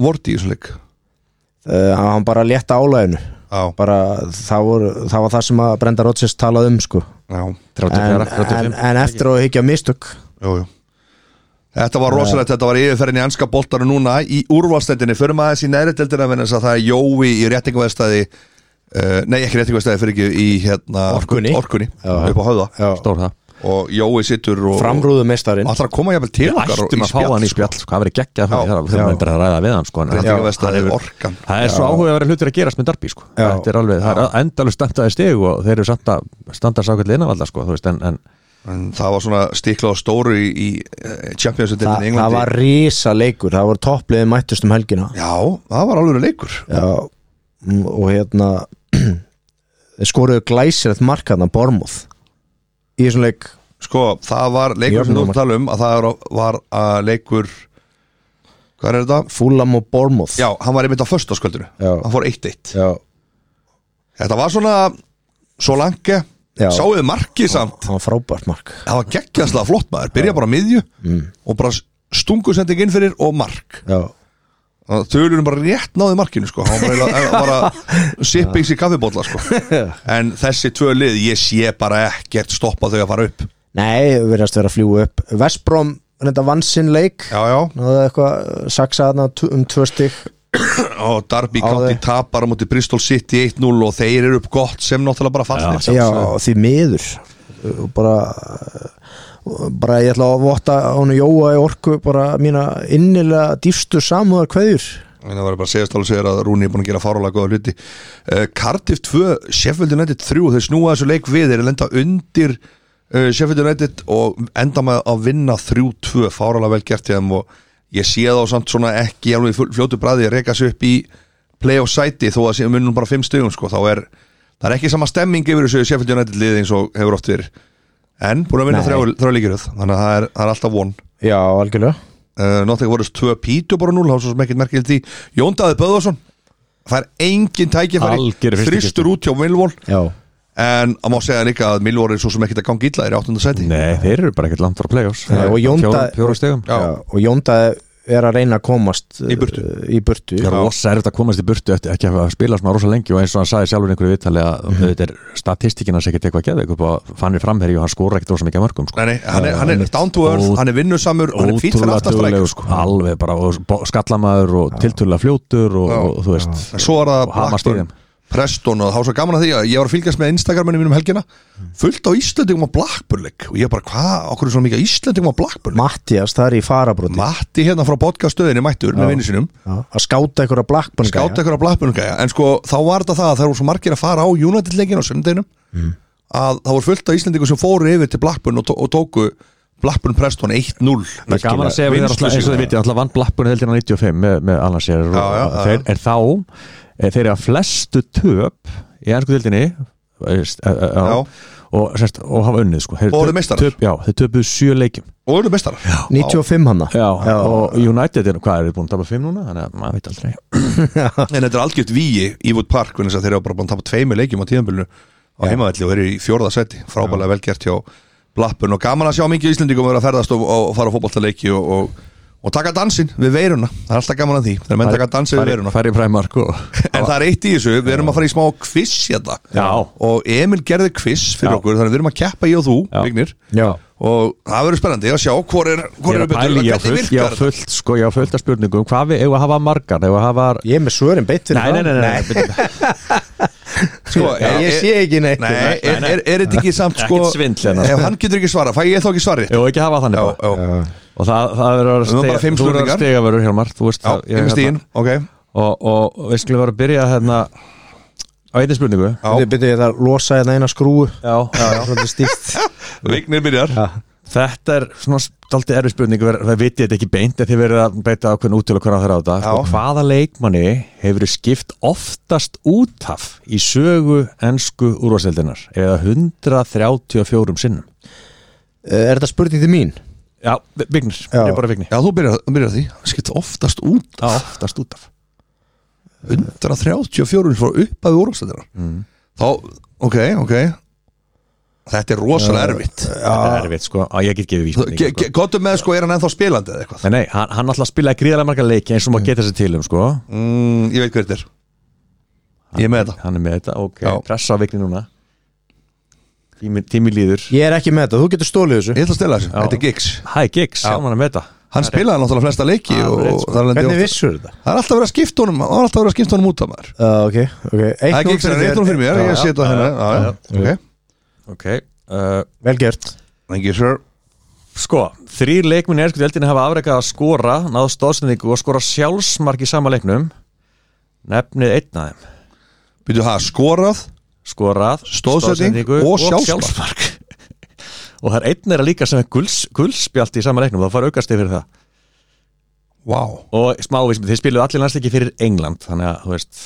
Speaker 1: Vorti í þessum leik
Speaker 2: uh, hann bara létta álæðinu
Speaker 1: Já,
Speaker 2: bara það, voru, það var það sem að Brenda Rodgers talaði um sko
Speaker 1: já,
Speaker 2: en,
Speaker 3: 34,
Speaker 2: en,
Speaker 3: 35.
Speaker 2: en eftir að higgja mistök
Speaker 1: jú, jú Þetta var rosalegt, þetta var yfirferðin í enska boltanu núna í úrvalstendinni, förum aðeins í næriðdeldina en þess að það er Jói í eh, réttingveðstæði uh, nei ekki réttingveðstæði fyrir ekki í hérna
Speaker 2: Orkunni.
Speaker 1: orkunni
Speaker 2: Já.
Speaker 1: upp á höfða
Speaker 2: já.
Speaker 3: Stór það.
Speaker 1: og Jói sittur og
Speaker 2: framrúðu meistarinn
Speaker 1: og ætlar að koma jafnvel til
Speaker 3: Við
Speaker 1: okkar og-
Speaker 3: ættum að fá hann í spjall sko, hann verið geggjað
Speaker 1: Já,
Speaker 3: fyrir það, þurfum
Speaker 2: já.
Speaker 3: endur að ræða við hann sko, en
Speaker 1: Það er
Speaker 3: hann-
Speaker 1: líka verst að
Speaker 3: hann
Speaker 1: það er
Speaker 3: hefur-
Speaker 1: orkan
Speaker 3: Það er svo áhugaverið hlutir að gerast með Darby sko.
Speaker 2: Já.
Speaker 3: Þetta er alveg, það er endalur standaði stig og þeir eru samt að standa sákvæðlega innavalla sko, þú veist, en, en
Speaker 1: En það var svona stiklað og stóru í, í eh, Champions League í
Speaker 2: það, það
Speaker 1: Englandi
Speaker 2: var risa leikur, það voru toppliði mættust um helgina
Speaker 1: Já, það var alveg leikur
Speaker 2: Já, mm, og hérna þeir skoruðu glæsilegt markaðna Bormúð í þessum leik
Speaker 1: Sko, það var leikur sem þú ert að tala um að það var- var að leikur Hvað er þetta?
Speaker 2: Fulham og Bormúð
Speaker 1: Já, hann var einmitt á föstaskvöldinu
Speaker 2: Já.
Speaker 1: Hann fór 1-1
Speaker 2: Já,
Speaker 1: Þetta var svona svo langi
Speaker 2: Já.
Speaker 1: Sáuðu markið samt
Speaker 2: það var frábært mark
Speaker 1: Það var geggjaðslega flott maður Byrja bara á miðju
Speaker 2: Mm.
Speaker 1: og bara stungu sending inn fyrir og mark
Speaker 2: Já,
Speaker 1: Þauðurinn bara rétt náði markinu sko Hann var bara, bara sippings í kaffibólla sko En þessi tvö lið, ég sé bara ekkert stoppa þau að fara upp
Speaker 2: nei, við erum að vera að fljúa upp Vestbrom, þetta vann sinn leik
Speaker 1: Já, já
Speaker 2: náðu eitthvað eh, saksaðna um tvö stík
Speaker 1: Og Darby
Speaker 2: Á
Speaker 1: County
Speaker 2: þau.
Speaker 1: tapar á móti Bristol City 1-0 og þeir eru upp gott sem náttúrulega bara fallnir
Speaker 3: Já,
Speaker 2: Já, því miður Og bara eh, bara ég ætla að votta hún Jóa í orku bara mína innilega dýfstu samúðar kveðjur
Speaker 1: En það var bara að segja stálega segir að Rúni er búin að gera farulega góða hluti uh, Cardiff 2, Sheffield United 3 þeir snúa þessu leik við, þeir lenda undir uh, Sheffield United og enda með að vinna 3-2 farulega vel gert í þeim og ég sé þá samt svona ekki alveg í full- fljótu bræði að reyka sig upp í play-off sæti þó að séum munum bara 5 stugum sko, þá er, það er ekki sama stemming yfir þessu Sheffield United liði eins og hefur oft verið en búin að vinna
Speaker 2: Nei.
Speaker 1: þrjá, þrjá líkiröð þannig að það er, það er alltaf von
Speaker 2: Já, algjörlega
Speaker 1: uh, Náttúrulega voru tvö pítu bara núl, það var svo sem ekkert merkilegt í Jón Daði Böðvarsson fær engin
Speaker 3: Algjör
Speaker 1: tækifæri
Speaker 3: fyrsti
Speaker 1: þristur
Speaker 3: kisti.
Speaker 1: út hjá Milvól
Speaker 2: Já,
Speaker 1: en að má segja líka að Milvól er svo sem ekkert að gangi illa er í 8. seti
Speaker 3: nei, þeir eru bara ekkert langt frá play-offs
Speaker 2: Nei, og Jónda-
Speaker 3: Fjóru stegum
Speaker 1: Já.
Speaker 2: og Jónda er að reyna að komast
Speaker 1: Í burtu.
Speaker 2: uh, í burtu.
Speaker 3: Það er rosa erfitt að komast í burtu eftir ekki að spila svona rosa lengi og eins og hann sagði sjálfur í einhverju viðtali að þetta er statistikina sem ekkert eitthvað að geða eitthvað fannir framherji og hann skora ekkert rosa mikið að mörgum sko.
Speaker 1: Nei, nei, hann er, hann er down to earth,
Speaker 3: Ó-
Speaker 1: hann er vinnusamur hann er fýtt fyrir
Speaker 3: Ótrúlega
Speaker 1: aftastræk
Speaker 3: duglegur, sko. alveg bara og bo- skallamæður og tiltölulega fljótur og, og, þú veist
Speaker 1: en svo var það
Speaker 3: sko. Og hamast í
Speaker 1: Blackburn
Speaker 3: þeim.
Speaker 1: Preston og það var svo gaman að því að ég var að fylgjast með Instagraminu mínum um helgina fullt á Íslandingum á Blackburn-leik og ég bara hvað, okkur er svona mikið Íslandingum á Blackburn
Speaker 2: Mattias, það er í farabróti
Speaker 1: Matti hérna frá podcaststöðinni mættur með vinnu sinum
Speaker 2: að skáta einhverja blackburn
Speaker 1: skáta ykkur á blaðbunungæja en sko þá var þetta það að það voru svo margir að fara á United-leikin á söndeginum að það voru fullt af Íslendingur sem fóru yfir til Blackburn og, tó og tóku Blackburn Preston 1-0
Speaker 3: Það er gaman að segja við
Speaker 1: Vinnslu
Speaker 3: þeirra eins og þið
Speaker 1: sigur.
Speaker 3: vitið, alltaf vann Blackburn heldina 95 með, með Alan Shearer og-
Speaker 1: Já, já,
Speaker 3: og
Speaker 1: já,
Speaker 3: þeir, en þá er þeir eru að flestu töp í eh, ennsku dildinni
Speaker 1: Já.
Speaker 3: og, sérst, og hafa unnið sko. Þeir
Speaker 1: Og
Speaker 3: töp-
Speaker 1: eru meistarar.
Speaker 3: töp- Já, þeir töpuðu sjö leikjum
Speaker 1: og eru mestarar Já,
Speaker 2: 95 hanna
Speaker 3: já. og United, er, hvað er þeir búin að tapa 5 núna? Þannig að maður veit aldrei
Speaker 1: en þetta er algjört vígi í Wood Park vegna þess að þeir eru bara búin að tapa tveimur leikjum á tíðanbölinu á heimavelli og eru í fjórða seti frábælega velgert hjá Blackburn og gaman að sjá mikið Íslendingum vera að ferðast og, og fara á fótballtaleiki og, og, og taka dansinn við veiruna það er alltaf gaman að því, þegar menn taka dansinn við veiruna
Speaker 3: Færi fræmark og
Speaker 1: En það er eitt í þessu, við erum að fara í smá quiz hérna
Speaker 3: Já.
Speaker 1: Og Emil gerði quiz fyrir
Speaker 3: Já.
Speaker 1: okkur, þannig að við erum að keppa ég og þú,
Speaker 3: Já.
Speaker 1: Vignir
Speaker 2: já.
Speaker 1: Og það verður spennandi að sjá hvor er,
Speaker 3: Ég
Speaker 1: hvor
Speaker 3: er
Speaker 1: er
Speaker 3: að pæli,
Speaker 1: betur,
Speaker 3: ég á
Speaker 1: hvernig
Speaker 3: fullt, ég á
Speaker 1: virkar
Speaker 3: fullt, sko, ég á fullt að spurningum Hvað við, eigum við að hafa margar, eigum við að hafa
Speaker 2: ég er með svörin beitt fyrir
Speaker 3: Nei, nei,
Speaker 2: það.
Speaker 3: nei, nei, nei.
Speaker 1: sko,
Speaker 2: Já, ég sé ekki neitt
Speaker 1: Nei, er, er, er þetta ekki samt sko
Speaker 3: Ekkert svindl hérna.
Speaker 1: Ef hann getur ekki svara, fæ ég þá ekki svarið
Speaker 3: Jó, ekki hafa þannig
Speaker 1: Já, já,
Speaker 3: bara.
Speaker 1: já,
Speaker 3: og það, það verður að
Speaker 1: Við höfum bara
Speaker 3: stiga-
Speaker 1: fimm
Speaker 3: þú verður að
Speaker 1: spurningar.
Speaker 3: stiga verður Hjálmar þú veist það, ég-
Speaker 1: ég með stíðin,
Speaker 3: hérna-
Speaker 1: ok
Speaker 3: og, og, og við skulum vera að byrja hérna á einni spurningu
Speaker 1: Já.
Speaker 2: Byrju, byrju, ég þarf að losa hérna eina skrúu
Speaker 3: já, já,
Speaker 2: Svolítið stíft
Speaker 1: Vignir byrjar
Speaker 3: þetta er svona dalti erfið spurningu ver- það vitið þetta ekki beint en þið verður að beita ákveðin út til að hverja þeirra á þetta
Speaker 1: Já.
Speaker 3: og hvaða leikmanni hefur verið skipt oftast út af í sögu ennsku úrvarsveldinar eða 134 sinnum
Speaker 2: Eh, Er þetta spurning til mín?
Speaker 3: já, vignir,
Speaker 2: Já.
Speaker 3: ég er bara vignir
Speaker 1: Já, þú byrjar, byrjar því, skipt oftast út
Speaker 3: Já, oftast út af
Speaker 1: 134 frá uppaði úrvastættina Þá, ok, ok Þetta er rosalega erfitt
Speaker 3: þetta er erfið sko, að ég get gefið vísbendingu sko.
Speaker 1: Gottum með sko, er hann ennþá spilandi eða eitthvað
Speaker 3: Nei, nei, hann, hann alltaf spilaði gríðarlega marga leiki eins og maður geta sér til um, sko
Speaker 1: mm, Ég veit hver þetta er Ég er með þetta
Speaker 3: Hann er með þetta, ok,
Speaker 1: Já.
Speaker 3: pressa á vikni núna Tími, tími líður
Speaker 2: Ég er ekki með þetta, þú getur stólið þessu
Speaker 1: Ég ætla að stela þessu,
Speaker 3: Já.
Speaker 1: þetta er Giggs
Speaker 3: Hæ, Giggs, já, hann er með þetta
Speaker 1: Hann spilaði náttúrulega flesta leiki
Speaker 3: Já,
Speaker 1: og,
Speaker 3: rétt,
Speaker 1: og
Speaker 3: sko.
Speaker 1: þar lendi ég
Speaker 2: Hvernig
Speaker 1: oft-
Speaker 2: vissur þetta?
Speaker 1: Það er alltaf verið að skipta honum Það er alltaf verið að skipta honum út af maður
Speaker 2: Uh, ok, ok
Speaker 1: Það
Speaker 2: Eitt
Speaker 1: er Mm. Giggs, það er 1-0 fyrir mér, ég sé þetta hérna Já, já, ok
Speaker 3: Ok uh,
Speaker 2: Vel gert
Speaker 1: Thank you sir
Speaker 3: Sko, þrýr leikminn er sko eldinu hafa afrekað að skora, náðu stóðsendingu og skora sjálfsmark í sama leiknum nefnið einn af þeim
Speaker 1: Byrju hafa skorað
Speaker 3: skorað,
Speaker 1: Stoðsending
Speaker 3: stoðsendingu
Speaker 1: og sjálfsmark.
Speaker 3: og það er einn er að líka sem er guls, gulspjalt í sama leiknum, það fara aukast yfir það
Speaker 1: Vá
Speaker 3: og smávísum, þeir spiluðu allir landsleiki fyrir England þannig að, þú veist,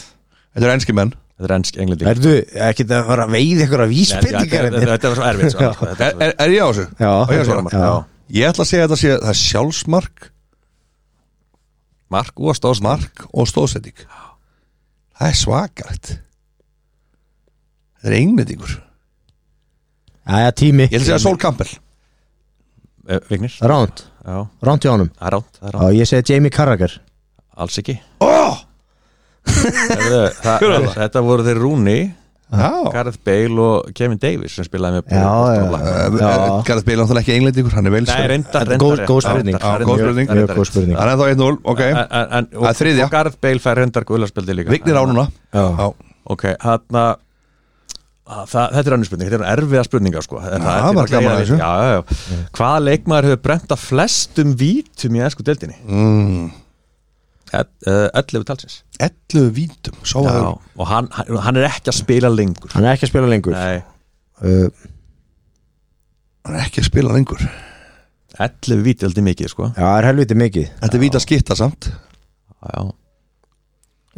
Speaker 1: Þetta er enski menn
Speaker 3: þetta er ennsk Englandi
Speaker 2: Erðu, ekki það að fara að veið ykkur að vísbendingar hérna?
Speaker 3: Þetta þetta var svo erfitt svo, sko, þetta
Speaker 1: Er,
Speaker 3: var-
Speaker 1: er, er ég á þessu?
Speaker 2: Já,
Speaker 1: Á ég að svara?
Speaker 3: sjálfsmark, já.
Speaker 1: Ég ætla að segja þetta sé Það er sjálfsmark,
Speaker 3: Mark og stóðsending
Speaker 1: mark og stóðsending Það er svakart Þetta er englendingur Ég
Speaker 2: Jæja, tími
Speaker 1: ætla að segja Sol Campbell
Speaker 3: Eh, Vignir,
Speaker 2: Ránd,
Speaker 3: já,
Speaker 2: ránd í honum
Speaker 3: það er ránt, það er ránt,
Speaker 2: Já, ég segi Jamie Carragher
Speaker 3: alls ekki
Speaker 1: oh!
Speaker 3: Herðu, það, Þetta voru þeir Rúni
Speaker 1: Já Eh,
Speaker 3: Gareth Bale og Kevin Davis sem spilaði með
Speaker 2: Já, já.
Speaker 3: já
Speaker 2: Já.
Speaker 1: Gareth Bale er náttúrulega ekki englendingur Hann er vel
Speaker 3: Nei, reyndar,
Speaker 2: Þetta er
Speaker 3: reyndar
Speaker 2: góð- góð
Speaker 3: rétt, reyndar,
Speaker 2: spurning.
Speaker 1: Já, góð
Speaker 3: reyndar, reyndar,
Speaker 1: spurning.
Speaker 3: reyndar,
Speaker 2: Mjög
Speaker 3: reyndar.
Speaker 2: góð spurning
Speaker 1: Það er þá 1-0, ok
Speaker 3: En- en- en- og-
Speaker 1: Það er þriðja.
Speaker 3: og Gareth Bale fær reyndar guðlarspildi líka
Speaker 1: Vignir á núna Já.
Speaker 3: Ok, hann að Þetta er annir spurning, þetta er erfiða spurninga sko. En
Speaker 1: Já,
Speaker 3: er
Speaker 1: bara
Speaker 3: til að
Speaker 1: gaman
Speaker 3: segja
Speaker 1: að
Speaker 3: við-
Speaker 1: þessu.
Speaker 3: já, já, já. Hvaða leikmaður hefur brent að flestum vítum í ennsku deildinni?
Speaker 1: Mm.
Speaker 3: Ell- eh, 11 talsins
Speaker 1: 11 vítum Sá að það
Speaker 3: Og hann, hann hann er ekki að spila lengur
Speaker 2: Hann er ekki að spila lengur
Speaker 3: Nei,
Speaker 2: uh,
Speaker 1: Hann er ekki að spila lengur
Speaker 3: 11 víti er heldur mikið sko.
Speaker 2: Já, er helviti mikið
Speaker 1: Þetta er víta skitta samt
Speaker 3: Já, já.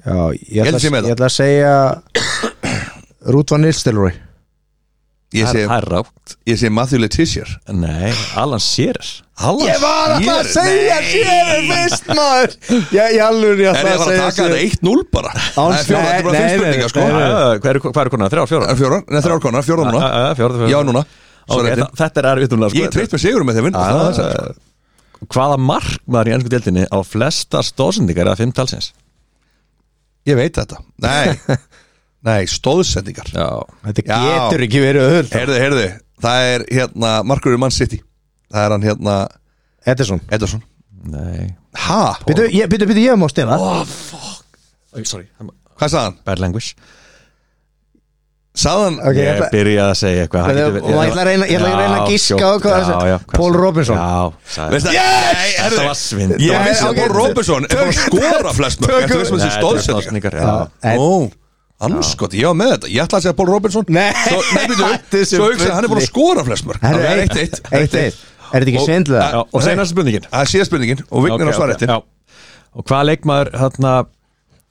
Speaker 2: Já, ég
Speaker 1: Ég held
Speaker 2: ætla,
Speaker 1: sé með það.
Speaker 2: ég ætla að segja Ruth Van Nistelrooy
Speaker 1: Ég
Speaker 3: Það
Speaker 1: segi
Speaker 3: er- það er rátt
Speaker 1: ég segi Matthew Letizier
Speaker 3: Nei, Alan Shearer
Speaker 1: Hallar, ég var
Speaker 2: sér fyrst maður Ég, ég alveg, ég
Speaker 1: En ég var að taka þetta 1-0 bara Það er fjóra, þetta er bara
Speaker 2: nei,
Speaker 1: fimm
Speaker 2: nei,
Speaker 1: spurningar sko
Speaker 2: nei, nei.
Speaker 3: Hvað Eh, er, hvað er konar?
Speaker 1: Það
Speaker 3: Þrjá, fjóra?
Speaker 1: er fjóra, neða þrjár konar, fjóra núna
Speaker 3: Á, á, á, Fjóra, fjóra
Speaker 1: Já núna, svo
Speaker 3: eh, Ok,
Speaker 1: er
Speaker 3: þa- Þetta er erfitt núna sko.
Speaker 1: Ég treyst með sigurum með þeim vinn
Speaker 3: Já, já, já.
Speaker 1: sko.
Speaker 3: Hvaða markmaður í ennsku deildinni á flesta stóðsendingar eða fimm talsins?
Speaker 1: Ég veit þetta Nei, nei, stóðsendingar
Speaker 3: Já
Speaker 2: Þetta
Speaker 1: Já.
Speaker 2: getur ekki verið öðvöld
Speaker 1: Herðu, herðu, það er hérna Markur í Man City Það er hann hérna
Speaker 2: Edison
Speaker 1: Eddarsson
Speaker 3: Nei
Speaker 1: Ha?
Speaker 2: Býtu, ég, býtu, býtu, ég má stela
Speaker 1: Oh fuck
Speaker 3: Oi, Sorry það var
Speaker 1: Hvað sagði hann?
Speaker 3: Bad language
Speaker 1: Sagði hann
Speaker 2: Ok, ég
Speaker 3: Ég
Speaker 2: ætla-
Speaker 3: byrja að segja eitthvað það
Speaker 2: Þetta-
Speaker 3: getur verið-
Speaker 2: og ég ætla að reyna- ég ætla að reyna að
Speaker 3: Já,
Speaker 2: giska
Speaker 3: sjótt,
Speaker 2: á hvað það
Speaker 3: já,
Speaker 2: er.
Speaker 3: já, hvað
Speaker 2: Paul
Speaker 3: sagði-
Speaker 2: Robinson.
Speaker 3: Já, sagði
Speaker 1: Veist það? Yes!
Speaker 3: Þetta var svind
Speaker 1: Ég
Speaker 2: var-
Speaker 1: vissi að
Speaker 2: ok,
Speaker 1: Paul Robinson er bara að skora flest mörg En um þú veist með þessi stóðsendingar
Speaker 3: Já,
Speaker 2: En-
Speaker 1: Ó, anskot, ég var með þetta Ég ætlaði að segja Paul Robinson
Speaker 2: Nei,
Speaker 1: Svo, nei, byrju,
Speaker 2: hættu þessu
Speaker 1: svo hugsaði, hann er búin að
Speaker 2: bulli.
Speaker 1: skora flest mörg
Speaker 2: Herru,
Speaker 1: Það er eitt
Speaker 2: eitt,
Speaker 1: eitt
Speaker 2: eitt, eitt. Er þetta ekki
Speaker 1: Og-
Speaker 2: svindlega?
Speaker 3: Já, Og senast spurningin
Speaker 1: Það er síðan spurningin og vignir á
Speaker 3: Ok,
Speaker 1: svarettin
Speaker 3: ok, já. Og hvaða leikmaður hérna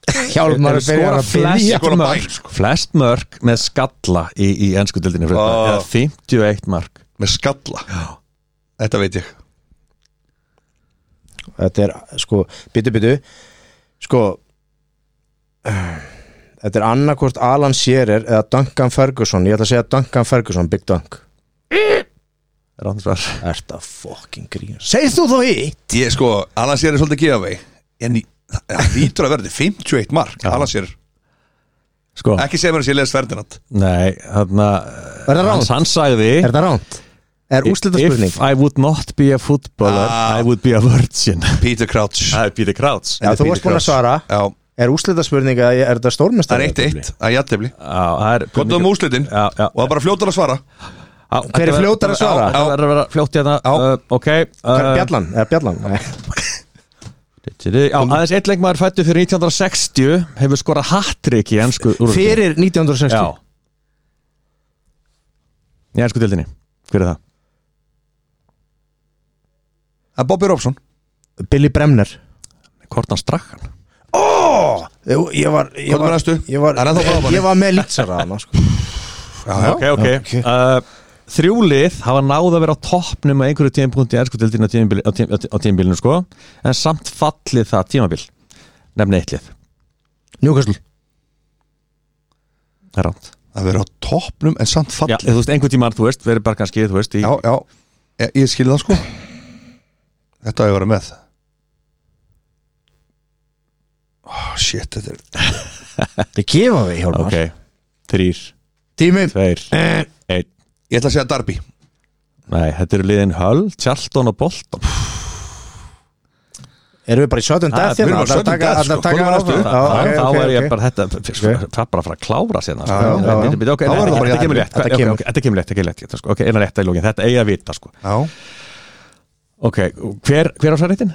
Speaker 2: Hjálmar
Speaker 3: hefur
Speaker 2: er byrjar að
Speaker 3: skorað
Speaker 1: Skora
Speaker 2: byrja
Speaker 3: flest
Speaker 1: bæn, sko.
Speaker 3: mörk Flest mörk með skalla í, í ennsku dildinni fyrir
Speaker 1: Ó.
Speaker 3: þetta Eða 51 mörk
Speaker 1: Með skalla Þetta veit ég
Speaker 2: Þetta er, sko, byttu, byttu Sko Þetta er annarkvort Alan Shearer eða Duncan Ferguson Ég ætla að segja Duncan Ferguson, Big Dunk
Speaker 3: Ráðsvar
Speaker 2: Erta fucking grín Segð þú þó hitt?
Speaker 1: Ég sko, Alan Sér er svolítið gefavei En í- það lítur að verði 51 mark Alan Sér,
Speaker 3: Sko,
Speaker 1: ekki segja mér að sé les Ferdinand
Speaker 3: nei, hérna
Speaker 2: Er það
Speaker 3: Hans,
Speaker 2: ránt?
Speaker 3: hann sagði
Speaker 2: Er það ránt? Er úslita spurning?
Speaker 3: If I would not be a footballer
Speaker 1: Ah.
Speaker 3: I would be a virgin
Speaker 1: Peter Crouch
Speaker 3: Það er Peter Krauts
Speaker 2: Já, þú varst búin að svara
Speaker 1: Já,
Speaker 2: Er úslita spurning eða er
Speaker 1: það er
Speaker 2: þetta stórmestari?
Speaker 1: eitt eitt, það er jættefli
Speaker 3: Það er
Speaker 1: Gott um úslitin
Speaker 3: Já, já.
Speaker 1: og það er bara fljótar að svara
Speaker 3: Já,
Speaker 2: Hver er
Speaker 3: þetta
Speaker 2: fljótari að
Speaker 3: verður-
Speaker 2: svara?
Speaker 3: Já, Þetta verður að vera fljótt hérna
Speaker 1: Já.
Speaker 3: uh, Ok
Speaker 2: Hvað er
Speaker 3: uh,
Speaker 2: Bjallan? Eða Bjallan? Nei.
Speaker 3: Já, aðeins einn leikmaður fættu fyrir 1960 hefur skorað hattrik í ennsku
Speaker 2: Fyrir
Speaker 3: úrvalsdeildinni.
Speaker 2: 1960
Speaker 3: Já Í ennsku dildinni Hver er það?
Speaker 1: Það er Bobby Robson
Speaker 2: Billy Bremner
Speaker 3: Kortan Strakkan
Speaker 2: Jú, Ég var Ég
Speaker 1: Hvað með
Speaker 2: var,
Speaker 1: næstu?
Speaker 2: ég var,
Speaker 1: Það er ennþá frábæri.
Speaker 2: ég var með lýtsara þarna, sko.
Speaker 1: Já,
Speaker 3: Ok, ok,
Speaker 2: ok.
Speaker 3: Uh, Þrjúlið hafa náð að vera á toppnum á einhverju tímapunkti í ennsku dildinni á tímabili- á tím- á tím- á tímabilinu sko en samt fallið það tímabil nefni eittlið
Speaker 2: Newcastle
Speaker 3: Það er rámt
Speaker 1: Það verður á toppnum en samt
Speaker 3: Já,
Speaker 1: fallið
Speaker 3: þú veist, einhvern tímann, þú veist, verið bara kannski, þú veist, í
Speaker 1: Já, já, ég, ég skil það sko Þetta hefur verið með oh, Shit, þetta er
Speaker 2: Þetta er gefa við hjálpar
Speaker 3: Ok, þrýr,
Speaker 2: Tími
Speaker 3: tveir, einn
Speaker 1: Ég ætla að segja Darby
Speaker 3: Nei, þetta eru liðin Hull, Charlton og Bolton
Speaker 2: Erum við bara í sudden death
Speaker 1: við erum
Speaker 2: hérna?
Speaker 1: bara sudden death, sko. Komum við aftur?
Speaker 3: Þá þá er
Speaker 2: bara
Speaker 3: ég bara þetta sko, Það er bara að fara að klára sérna
Speaker 1: já,
Speaker 3: sko.
Speaker 1: já. Þá verður það bara
Speaker 3: Þetta
Speaker 1: jafnvel.
Speaker 3: kemur létt
Speaker 2: Þetta
Speaker 3: ok,
Speaker 2: kemur.
Speaker 3: ok, Þetta kemur létt, þetta kemur létt þetta, sko. Ok, einan rétt að í lógin, þetta eiga að vita sko.
Speaker 1: Já,
Speaker 3: Ok, hver, hver á særreitin?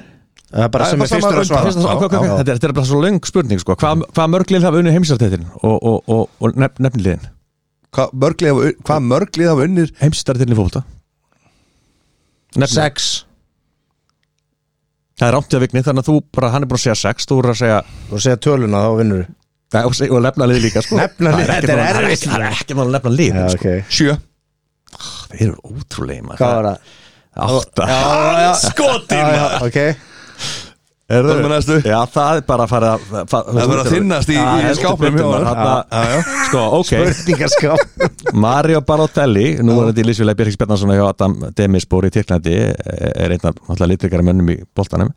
Speaker 2: Það er bara sem er fyrstur að svara
Speaker 3: Þetta er- þetta er bara svo löng spurning sko. Hvað hva mörglið hafa unnið heimsartættin og, og, og, og nef, nefnliðin?
Speaker 1: hvað mörglið hafa, hvað mörglið hafa unnir
Speaker 3: Heimsartættin í fólta Nefnliðin,
Speaker 2: Sex
Speaker 3: það er rámt í að vigni Þannig að þú bara, hann er búin að segja sex Þú er að segja
Speaker 2: Þú segja töluna þá vinnur
Speaker 3: Nei, og, og nefna lið líka sko.
Speaker 2: Nefna lið,
Speaker 3: Það
Speaker 2: þetta er
Speaker 3: ekkert mál-
Speaker 2: erfitt.
Speaker 3: Það er ekki mál að nefna lið
Speaker 2: Já,
Speaker 3: sko.
Speaker 2: ok
Speaker 1: sjö
Speaker 3: Það eru ótrúlega maður.
Speaker 2: Hvað var það?
Speaker 3: Átta
Speaker 1: Skoti
Speaker 2: Já, já, ok
Speaker 3: Er
Speaker 1: Hvað er með næstu?
Speaker 3: Já, það er bara að fara að fa- fa-
Speaker 1: Það er bara að þynnast í-
Speaker 3: Já,
Speaker 1: í
Speaker 3: heldur
Speaker 1: skápnum
Speaker 3: betur,
Speaker 1: hjá
Speaker 3: maður.
Speaker 1: þér.
Speaker 3: Þarna-
Speaker 1: Já, já.
Speaker 3: Sko, ok
Speaker 2: Spurningaská
Speaker 3: Mario Barotelli, nú er þetta í Lísvíla Birgis Bjarnarsson hjá Adam Demispor í Tyrklandi er einn af náttúrulega litrikara mönnum í boltanum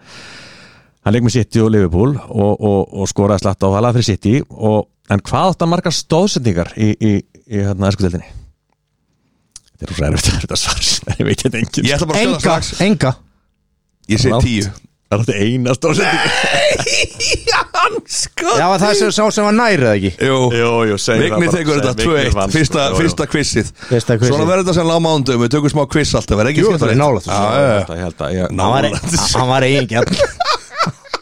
Speaker 3: Hann leik með City og Liverpool og, og, og skoraði slatt á það fyrir City og, en hvað átt að marga stóðsendingar í, í, í hérna eskuteldinni? Þetta er rosa erfitt að þetta svar ég veit þetta sko. engin
Speaker 1: Ég ætla bara að skjóta
Speaker 2: Enga,
Speaker 1: strax
Speaker 2: enga
Speaker 1: Ég sé
Speaker 3: Rámt.
Speaker 1: tíu
Speaker 3: Það er þetta eina stóðsendingar
Speaker 1: Hann skoti
Speaker 2: Já, var það sem sá sem var nærið ekki
Speaker 1: Jú,
Speaker 3: jú,
Speaker 1: Vigni tekur þetta 2-1 Fyrsta,
Speaker 3: sko.
Speaker 1: fyrsta quizið
Speaker 2: sko. Fyrsta quizið.
Speaker 1: Svona verður þetta sem láma ándum Við tökum smá quiz alltaf verður ekki
Speaker 2: Jú, það er nálægt þessu.
Speaker 1: Já, já, já.
Speaker 3: Ég held að ég,
Speaker 1: Ná-
Speaker 2: Hann var ein- Hann var eigingjarn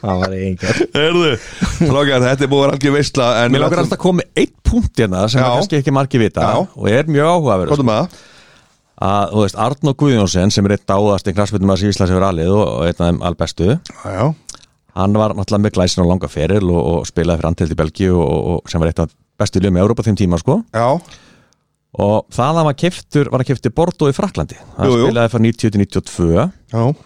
Speaker 2: Hann var eigingjarn
Speaker 1: Herðu Strákar, þetta er búið að vera algjör veistla En
Speaker 3: Mér langar alltaf að koma með eitt punkt hérna sem
Speaker 1: Já.
Speaker 3: er kannski ekki margi vita
Speaker 1: Já.
Speaker 3: og er mjög áhugaverð
Speaker 1: Kvartum að
Speaker 3: að, þú veist, Arnó Guðjónsson sem er eitt dáðast í knarspöndum að Íslands hefur alið og, og einn af þeim albestu
Speaker 1: Já, já
Speaker 3: hann var náttúrulega með glæsin og langa feril og, og spilaði fyrir Antild í Belgíu og, og sem var eitt af bestu liðum í Európa þeim tíma sko
Speaker 1: Já,
Speaker 3: og það að maður keftur, var að keftur Bordeaux í Fraklandi hann
Speaker 1: Jú, jú.
Speaker 3: spilaði frá 90-92
Speaker 1: já
Speaker 3: og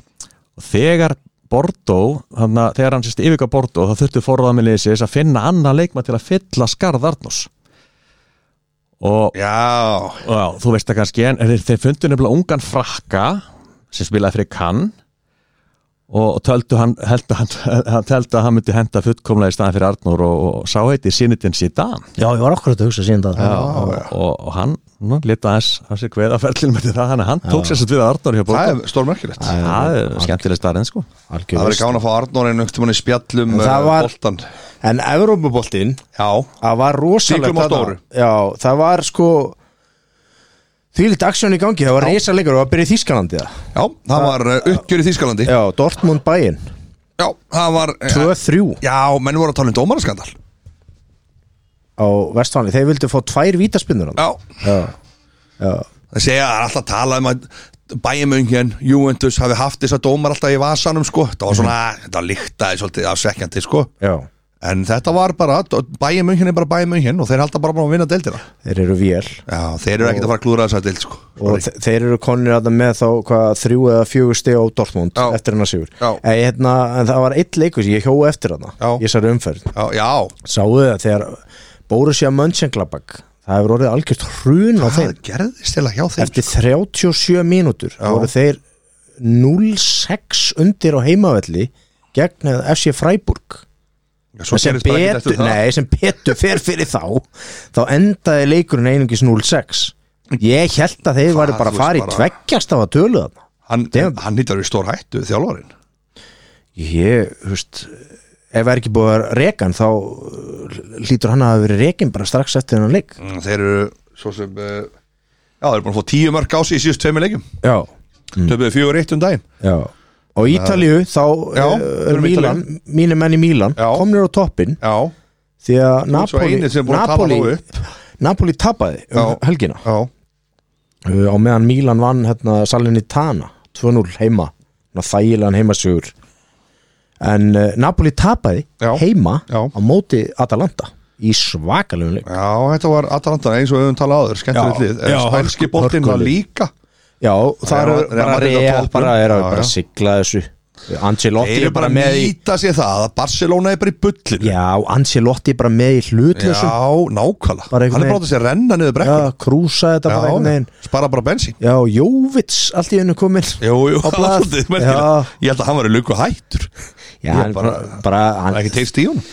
Speaker 3: þegar Bordeaux, hann, þegar hann sérst yfirga Bordeaux þá þurftu forðamiliðið sér að finna annan leikma til að fylla skarð Arnós og
Speaker 1: Já,
Speaker 3: Já, þú veist það kannski en þeir, þeir fundu nefnilega ungan frakka sem spilaði fyrir Kann og, og töldu hann heldu, hann, hann töldu að hann myndi henda fullkomlega í staðan fyrir Arnur og, og sá heiti Sinitin Sidan
Speaker 2: Já, ég var okkur að hugsa síðan það
Speaker 3: og, og, og hann nú, lita aðeins að sér hverða ferlinum eftir það þannig að hann tók sér svo við að Arnur hjá
Speaker 1: það
Speaker 3: bóta
Speaker 1: er stórmerkilegt Það
Speaker 3: Það er skemmtileg starinn sko
Speaker 1: verður gána að fá Arnór einu einhvern tímann í spjallum
Speaker 2: En það
Speaker 1: eh,
Speaker 2: var-
Speaker 1: boltan
Speaker 2: En Evrópuboltinn
Speaker 1: Já,
Speaker 2: Það var rosalegt
Speaker 1: Siglum á
Speaker 2: þarna.
Speaker 1: stóru.
Speaker 2: Já, það var sko Því lítið aksjón í gangi Það var reysa leikur og það byrja í Þískalandi það.
Speaker 1: já, það var eh, uppgjör í Þýskalandi
Speaker 2: Já, Dortmund bæinn
Speaker 1: Já, það var eh,
Speaker 2: 2-3
Speaker 1: Já, menn voru að tala um dómaraskandal
Speaker 2: á Vestfáni Þeir vildu fá tvær vítaspinnur hann
Speaker 1: Já,
Speaker 2: Já, já
Speaker 1: það segja það er alltaf að tala um að bæjumöngin, Juventus hafi haft þess að dómar alltaf í vasanum sko Það var svona,
Speaker 2: Mhm.
Speaker 1: þetta líktaði svolítið af sekjandi sko
Speaker 2: Já,
Speaker 1: En þetta var bara, bæjumöngin er bara bæjumöngin og þeir halda bara bara að vinna deildina
Speaker 2: þeir eru vél
Speaker 1: Já, þeir eru ekkert að fara að klúra þess að deild sko
Speaker 2: og þe- þeir eru konir að það með þá hvað, þrjú eða fjögur steg á Dortmund
Speaker 1: Já.
Speaker 2: eftir hennar sigur
Speaker 1: Já.
Speaker 2: en, hérna, en það var eitt leikur sem ég hjóu eftir hana
Speaker 1: Já.
Speaker 2: ég sær umferð
Speaker 1: Já, já,
Speaker 2: sáu það þegar Borussia Mönchengladbach það hefur orðið algjört hrun á
Speaker 1: það
Speaker 2: þeim
Speaker 1: gerðist til að hjá þeim
Speaker 2: eftir 37 mínútur voru þeir 0-6 undir á heimavelli gegn eða FC Freiburg
Speaker 1: Svo
Speaker 2: sem
Speaker 1: gerist bara ekkert
Speaker 2: betur,
Speaker 1: eftir það.
Speaker 2: nei, sem betur fer fyrir þá þá endaði leikurinn einungis 0-6 ég held að þeir
Speaker 1: Það,
Speaker 2: væri bara
Speaker 1: þú
Speaker 2: að
Speaker 1: veist,
Speaker 2: fara í
Speaker 1: bara-
Speaker 2: tveggjast af að tölu þarna
Speaker 1: Hann,
Speaker 2: Damn.
Speaker 1: hann nýttar í stór hættu þjálfarin
Speaker 2: ég, húst ef það er ekki búið að reka hann þá uh, hlýtur hann að hafa verið rekin bara strax eftir hennan leik
Speaker 1: Mm, Þeir eru svo sem uh, Já, þeir eru búin að fá tíu mörg á sig í síðust tveimur leikum
Speaker 2: já,
Speaker 1: mm. Töpuðu fjögur eitt um daginn
Speaker 2: já og Ítalíu þá
Speaker 1: Já,
Speaker 2: uh, er
Speaker 1: förum í
Speaker 2: Mílan, mínu menn í Mílan
Speaker 1: Já.
Speaker 2: komnir á toppin
Speaker 1: Já,
Speaker 2: því að
Speaker 1: ert svo
Speaker 2: Napoli
Speaker 1: einir sem er búin að tala
Speaker 2: Napoli,
Speaker 1: nógu
Speaker 2: Napoli tapaði um
Speaker 1: Já.
Speaker 2: helgina
Speaker 1: já,
Speaker 2: uh, á meðan Mílan vann hérna, Salernitana 2-0 heima Ná, þægilegan heimasugur en uh, Napoli tapaði
Speaker 1: Já.
Speaker 2: heima
Speaker 1: Já.
Speaker 2: á móti Atalanta í svakalugum leik
Speaker 1: já, þetta var Atalanta eins og við höfum talað áður, skemmtilegt
Speaker 2: Já,
Speaker 1: lið En
Speaker 2: já,
Speaker 1: spænski
Speaker 2: hörku-
Speaker 1: boltinn var
Speaker 2: hörkulið.
Speaker 1: líka
Speaker 2: já, það
Speaker 1: Já,
Speaker 2: eru
Speaker 1: Real
Speaker 2: bara
Speaker 1: Madrid á
Speaker 2: real
Speaker 1: toppnum.
Speaker 2: bara er
Speaker 1: Já,
Speaker 2: að
Speaker 1: já.
Speaker 2: bara sigla þessu Uh, Ancelotti
Speaker 1: Þeir
Speaker 2: er
Speaker 1: eru bara
Speaker 2: bara
Speaker 1: að
Speaker 2: með í
Speaker 1: nýta sér það að Barcelona er bara í bullinu
Speaker 2: já, Ancelotti er bara með í hlutlösu já,
Speaker 1: nákvæmlega
Speaker 2: Bara einhvern
Speaker 1: Hann er bara
Speaker 2: veginn-
Speaker 1: þess að renna niður brekkur
Speaker 2: krúsa þetta bara einhvern veginn
Speaker 1: spara bara bensín
Speaker 2: já, Jóvits allt í hennu komin
Speaker 1: Jú, jú,
Speaker 2: Á blað.
Speaker 1: svolítið merkilegt.
Speaker 2: Já.
Speaker 1: Ég held að hann var í luku hættur
Speaker 2: já,
Speaker 1: Ég
Speaker 2: hann
Speaker 1: bara-
Speaker 2: bara, bara hann,
Speaker 1: Ekki teist í hún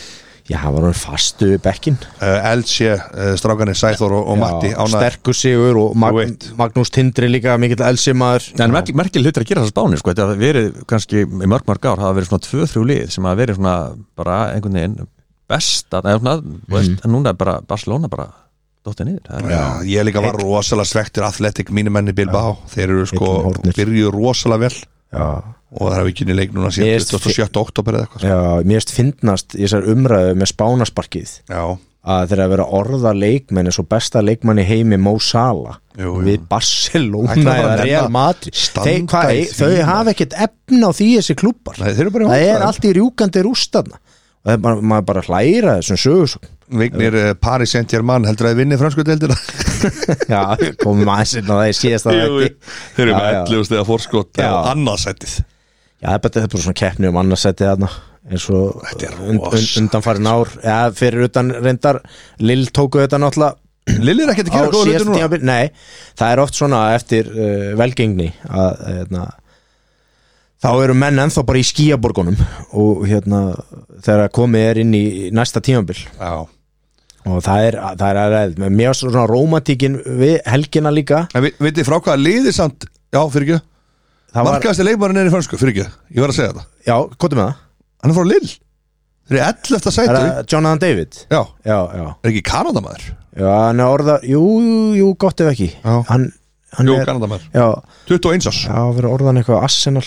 Speaker 2: já, hann var hann fastu bekkin
Speaker 1: uh, LC, uh, strákanir Sæþór og, og Matti ánæður
Speaker 2: sterkur sigur og Mag
Speaker 1: Þú veit.
Speaker 2: Magnús Tindri líka mikill elsimaður
Speaker 3: En merk, merkileg hlutir að gera það spáni sko. Þetta hafa verið kannski í mörg mörg ár hafa verið svona tvö-þrjú lið sem hafa verið svona bara einhvern veginn besta eða svona, þú veist, en núna er bara Barcelona bara dóttið niður Það er-
Speaker 1: Já, ég líka var rosalega svektur Athletic mínumenni Bilbao, þeir eru sko
Speaker 2: Heill með hórnir.
Speaker 1: byrjuðu rosalega vel
Speaker 2: já,
Speaker 1: og það er ekki inn í leik núna
Speaker 2: Ég
Speaker 1: síðan
Speaker 2: veist-
Speaker 1: 27. oktober eða eitthvað
Speaker 2: já, mér erst fyndnast í þessar umræðu með spánasparkið
Speaker 1: Já,
Speaker 2: að þeirra að vera að orða leikmenn eins og besta leikmann í heimi Mo Salah
Speaker 1: Jú, jú.
Speaker 2: við Barcelona
Speaker 1: Ætla bara
Speaker 2: eða
Speaker 1: að
Speaker 2: Real
Speaker 1: nenna-
Speaker 2: Madrid
Speaker 1: standa
Speaker 2: Þeir- hvað,
Speaker 1: í
Speaker 2: ei-
Speaker 1: því,
Speaker 2: þau
Speaker 1: maður.
Speaker 2: hafa ekkert efna á því þessi klubbar
Speaker 1: Nei, þeir eru bara í
Speaker 2: það er
Speaker 1: vandræðum.
Speaker 2: allt í rjúkandi rústarna og það er bara, maður bara hlæra þessum sögursum
Speaker 1: Vignir uh, Paris Saint-Germain heldur að þið vinni fransku deildina
Speaker 2: já, komum aðeins inn á það í síðasta þætti
Speaker 1: þeir eru
Speaker 2: Já,
Speaker 1: með
Speaker 2: já.
Speaker 1: 11 stegar fórskot
Speaker 2: Já.
Speaker 1: og annarsættið
Speaker 2: já, það er bara, það er bara svona keppni um annarsætti þarna eins og
Speaker 1: er
Speaker 2: und, und,
Speaker 1: rosalegt.
Speaker 2: undanfærin ár já, fyrir utan reyndar Lill tóku þetta náttúrulega
Speaker 1: Lillir er ekkert að
Speaker 2: á
Speaker 1: gera góða hluti
Speaker 2: síðasta
Speaker 1: núna
Speaker 2: tímabil Nei, það er oft svona eftir uh, velgengni að hérna, þá eru menn ennþá bara í skíaborgunum og hérna þegar komið er inn í næsta tímabil
Speaker 1: Já.
Speaker 2: og það er, það er aðræð mér var svona romantíkin við helgina líka
Speaker 1: En vi- vitið frá hvað liðið samt Já, fyrir ekki,
Speaker 2: það var,
Speaker 1: markaðasti leikmarin er í fransku fyrir ekki, ég var að segja þetta
Speaker 2: já, hvað er með það?
Speaker 1: Hann er frá Lill Þeir eru 11.
Speaker 2: Er
Speaker 1: sæti
Speaker 2: það Jonathan David?
Speaker 1: Já,
Speaker 2: Já, já,
Speaker 1: er ekki Kanadamaður
Speaker 2: já, hann er orða jú, jú, gott ef ekki
Speaker 1: Já.
Speaker 2: hann, hann
Speaker 1: Jú,
Speaker 2: er,
Speaker 1: Kanadamaður,
Speaker 2: já,
Speaker 1: 21 árs
Speaker 2: já, verið orðan eitthvað Arsenal,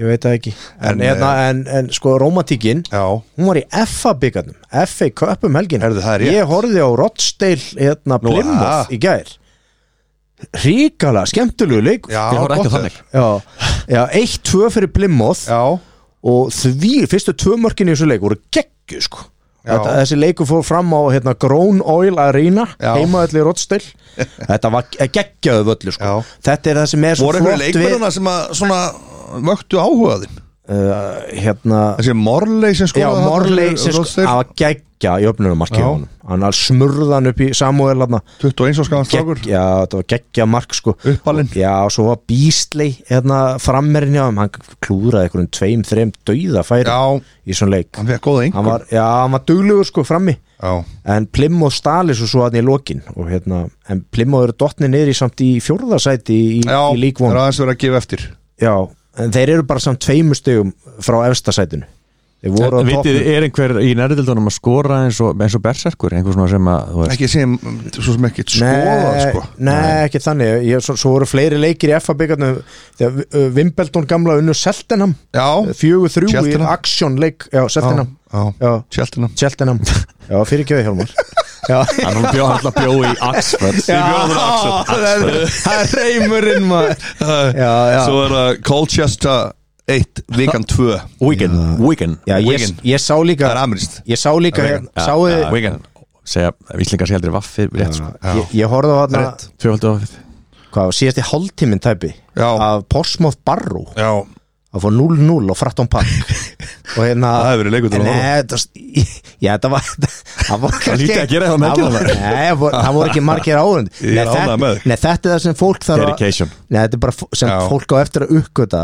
Speaker 2: ég veit það ekki
Speaker 1: En, eh,
Speaker 2: en, hérna, en, en sko, romantíkin
Speaker 1: Já,
Speaker 2: hún var í FA byggarnum FA Cup um helgin
Speaker 1: Herðu, það er rétt.
Speaker 2: ég horfði á Rottsdale hérna
Speaker 1: Nú, aha.
Speaker 2: Plymouth í gær ríkala, skemmtulegu leik
Speaker 1: já,
Speaker 3: Ég horfði ekki á
Speaker 1: gott
Speaker 3: þannig.
Speaker 1: þér.
Speaker 2: já, já 1-2 fyrir Plymouth
Speaker 1: Já,
Speaker 2: og því, fyrstu tvö mörkin í þessu leik voru geggju sko
Speaker 1: Já.
Speaker 2: Þetta, þessi leiku fór fram á hérna, Grown Oil Arena,
Speaker 1: Já.
Speaker 2: heimaðalli Rottsdale þetta var geggjaðu völlu sko.
Speaker 1: Já.
Speaker 2: þetta er það sem er svo
Speaker 1: voru einhverju
Speaker 2: flott við
Speaker 1: leikmarina sem að svona vöktu áhugaðin
Speaker 2: uh, hérna,
Speaker 1: Þessi Morley sem skoða
Speaker 2: Já, Morley sem sko, að geggja í öfnunumarki
Speaker 1: Já.
Speaker 2: honum hann alveg smurða hann upp í Samuel hann
Speaker 1: 21 árs gaman strákur
Speaker 2: já, þetta var geggja mark sko
Speaker 1: Uppalinn.
Speaker 2: já, og svo var Beasley hérna frammerinn hjá hann hann klúðraði einhverjum tveim, þreim dauða færi
Speaker 1: Já,
Speaker 2: í svona leik
Speaker 1: hann fekk góða
Speaker 2: hann
Speaker 1: yngur
Speaker 2: var, já, hann var duglegur sko frammi
Speaker 1: Já,
Speaker 2: en Plymouth stali svo svo hann í lokin og hérna, en Plymouth eru dottni niður í samt í fjórðasæti í, í,
Speaker 1: já
Speaker 2: í
Speaker 1: það
Speaker 2: líkvon
Speaker 1: er aðeins verið að gefa eftir
Speaker 2: já, en þeir eru bara samt tveimur stegum frá efstasætinu þeir voru á
Speaker 3: Vitið,
Speaker 2: toppnum
Speaker 3: er einhver í nærðildunum að skora eins og, eins og berserkur, einhver svona sem að þú veist,
Speaker 1: Ekki sem, svo sem ekki skoða
Speaker 2: Nei,
Speaker 1: sko
Speaker 2: Nei, ekki þannig ég, svo, svo voru fleiri leikir í FA byggarnu Þegar uh, Vimbeldón gamla unnu Seltenham
Speaker 1: Já,
Speaker 2: Fjögur þrjú í
Speaker 1: Cheltenham.
Speaker 2: aksjón leik Já, Seltenham
Speaker 1: já,
Speaker 2: Já,
Speaker 1: Tjeltinam
Speaker 2: Seltenham Já, fyrir kjöði Hjálmar Já,
Speaker 3: hann var bjó, hann bjó í Axford
Speaker 2: já
Speaker 1: bjóðum á Axel.
Speaker 2: það er- það er reymurinn maður Já, já
Speaker 1: Svo er það Colchester 1, Vikan 2
Speaker 3: Wigan, Wigan
Speaker 2: Já, ég,
Speaker 1: Wigan.
Speaker 2: ég sá
Speaker 1: Það er
Speaker 2: líka
Speaker 1: amrist
Speaker 2: Ég sá líka
Speaker 1: Wigan.
Speaker 2: hérna- Sáuði
Speaker 3: Já, Wigan, segja, víslingar sé aldrei vaffi rétt sko,
Speaker 2: Ég, ég horfði á þarna
Speaker 1: Rétt.
Speaker 3: tvöfaldi vaffið
Speaker 2: Hvað, síðasti hálftíminn tæpi
Speaker 1: Já.
Speaker 2: Af Portsmouth Barrow
Speaker 1: Já,
Speaker 2: að fór 0-0 og frætt án pakk og hérna
Speaker 1: Það hefur verið leikur til að
Speaker 2: Nei,
Speaker 1: horfa.
Speaker 2: þetta já, þetta var það var kannski-
Speaker 3: lítið að gera hjá melgina,
Speaker 2: það
Speaker 3: maður.
Speaker 2: var- nei, það voru- það voru ekki margir áhund
Speaker 1: Ég er ánægður með þig.
Speaker 2: nei, þetta er það sem fólk þarf að
Speaker 3: Dedication.
Speaker 2: nei, þetta er bara fó- sem
Speaker 1: Já.
Speaker 2: fólk á eftir að uppgöta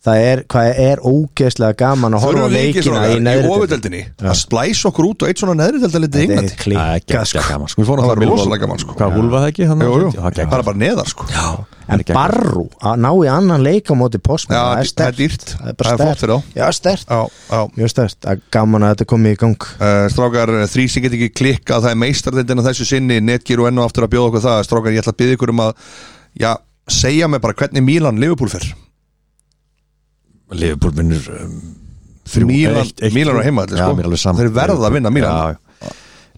Speaker 2: það er, hvað er ógeðslega gaman að horfa á
Speaker 1: Þurfum við ekki
Speaker 2: leikina
Speaker 1: svona
Speaker 2: í
Speaker 1: í
Speaker 2: neðri deild.
Speaker 1: ofudeldinni að splæsa okkur út á eitt svona neðri delda litið í
Speaker 2: Þetta
Speaker 1: Englandi
Speaker 2: er klikka
Speaker 3: Það
Speaker 2: sko.
Speaker 3: gaman sko Við fórum
Speaker 1: Það
Speaker 3: alltaf
Speaker 1: var
Speaker 3: Millwall.
Speaker 1: rosalega gaman, sko.
Speaker 3: Hvað vúlfa það ekki? þarna?
Speaker 1: Jú, jú,
Speaker 3: Já, það
Speaker 1: það
Speaker 3: geggjað.
Speaker 1: er bara neðar sko Já,
Speaker 2: en
Speaker 3: geggjað.
Speaker 2: barru að ná í annan leik á móti postma
Speaker 1: Já,
Speaker 2: það er
Speaker 1: það er
Speaker 2: stert
Speaker 1: dýrt.
Speaker 2: það er
Speaker 1: Það
Speaker 2: bara
Speaker 1: er flott fyrir þá.
Speaker 2: stert já, stert
Speaker 1: já, já.
Speaker 2: mjög stert Það er gaman að þetta komi í gang
Speaker 1: Uh, strákar, uh, þrý sem get ekki klikkað það er meistardeldin að þessu sinni, netgir og enn og aftur að bjóða okkur það, strákar, ég ætla að byrja ykkur um að já, segja mig bara hvernig Mílan Liverpool fer,
Speaker 3: Liverpool vinnur um, þrjú-
Speaker 1: Mílan-
Speaker 3: eitt- eitt-
Speaker 1: Mílan á heimavelli,
Speaker 3: Já,
Speaker 1: sko.
Speaker 3: mér er alveg saman
Speaker 1: Þeir verða að vinna Mílan.
Speaker 3: já, já.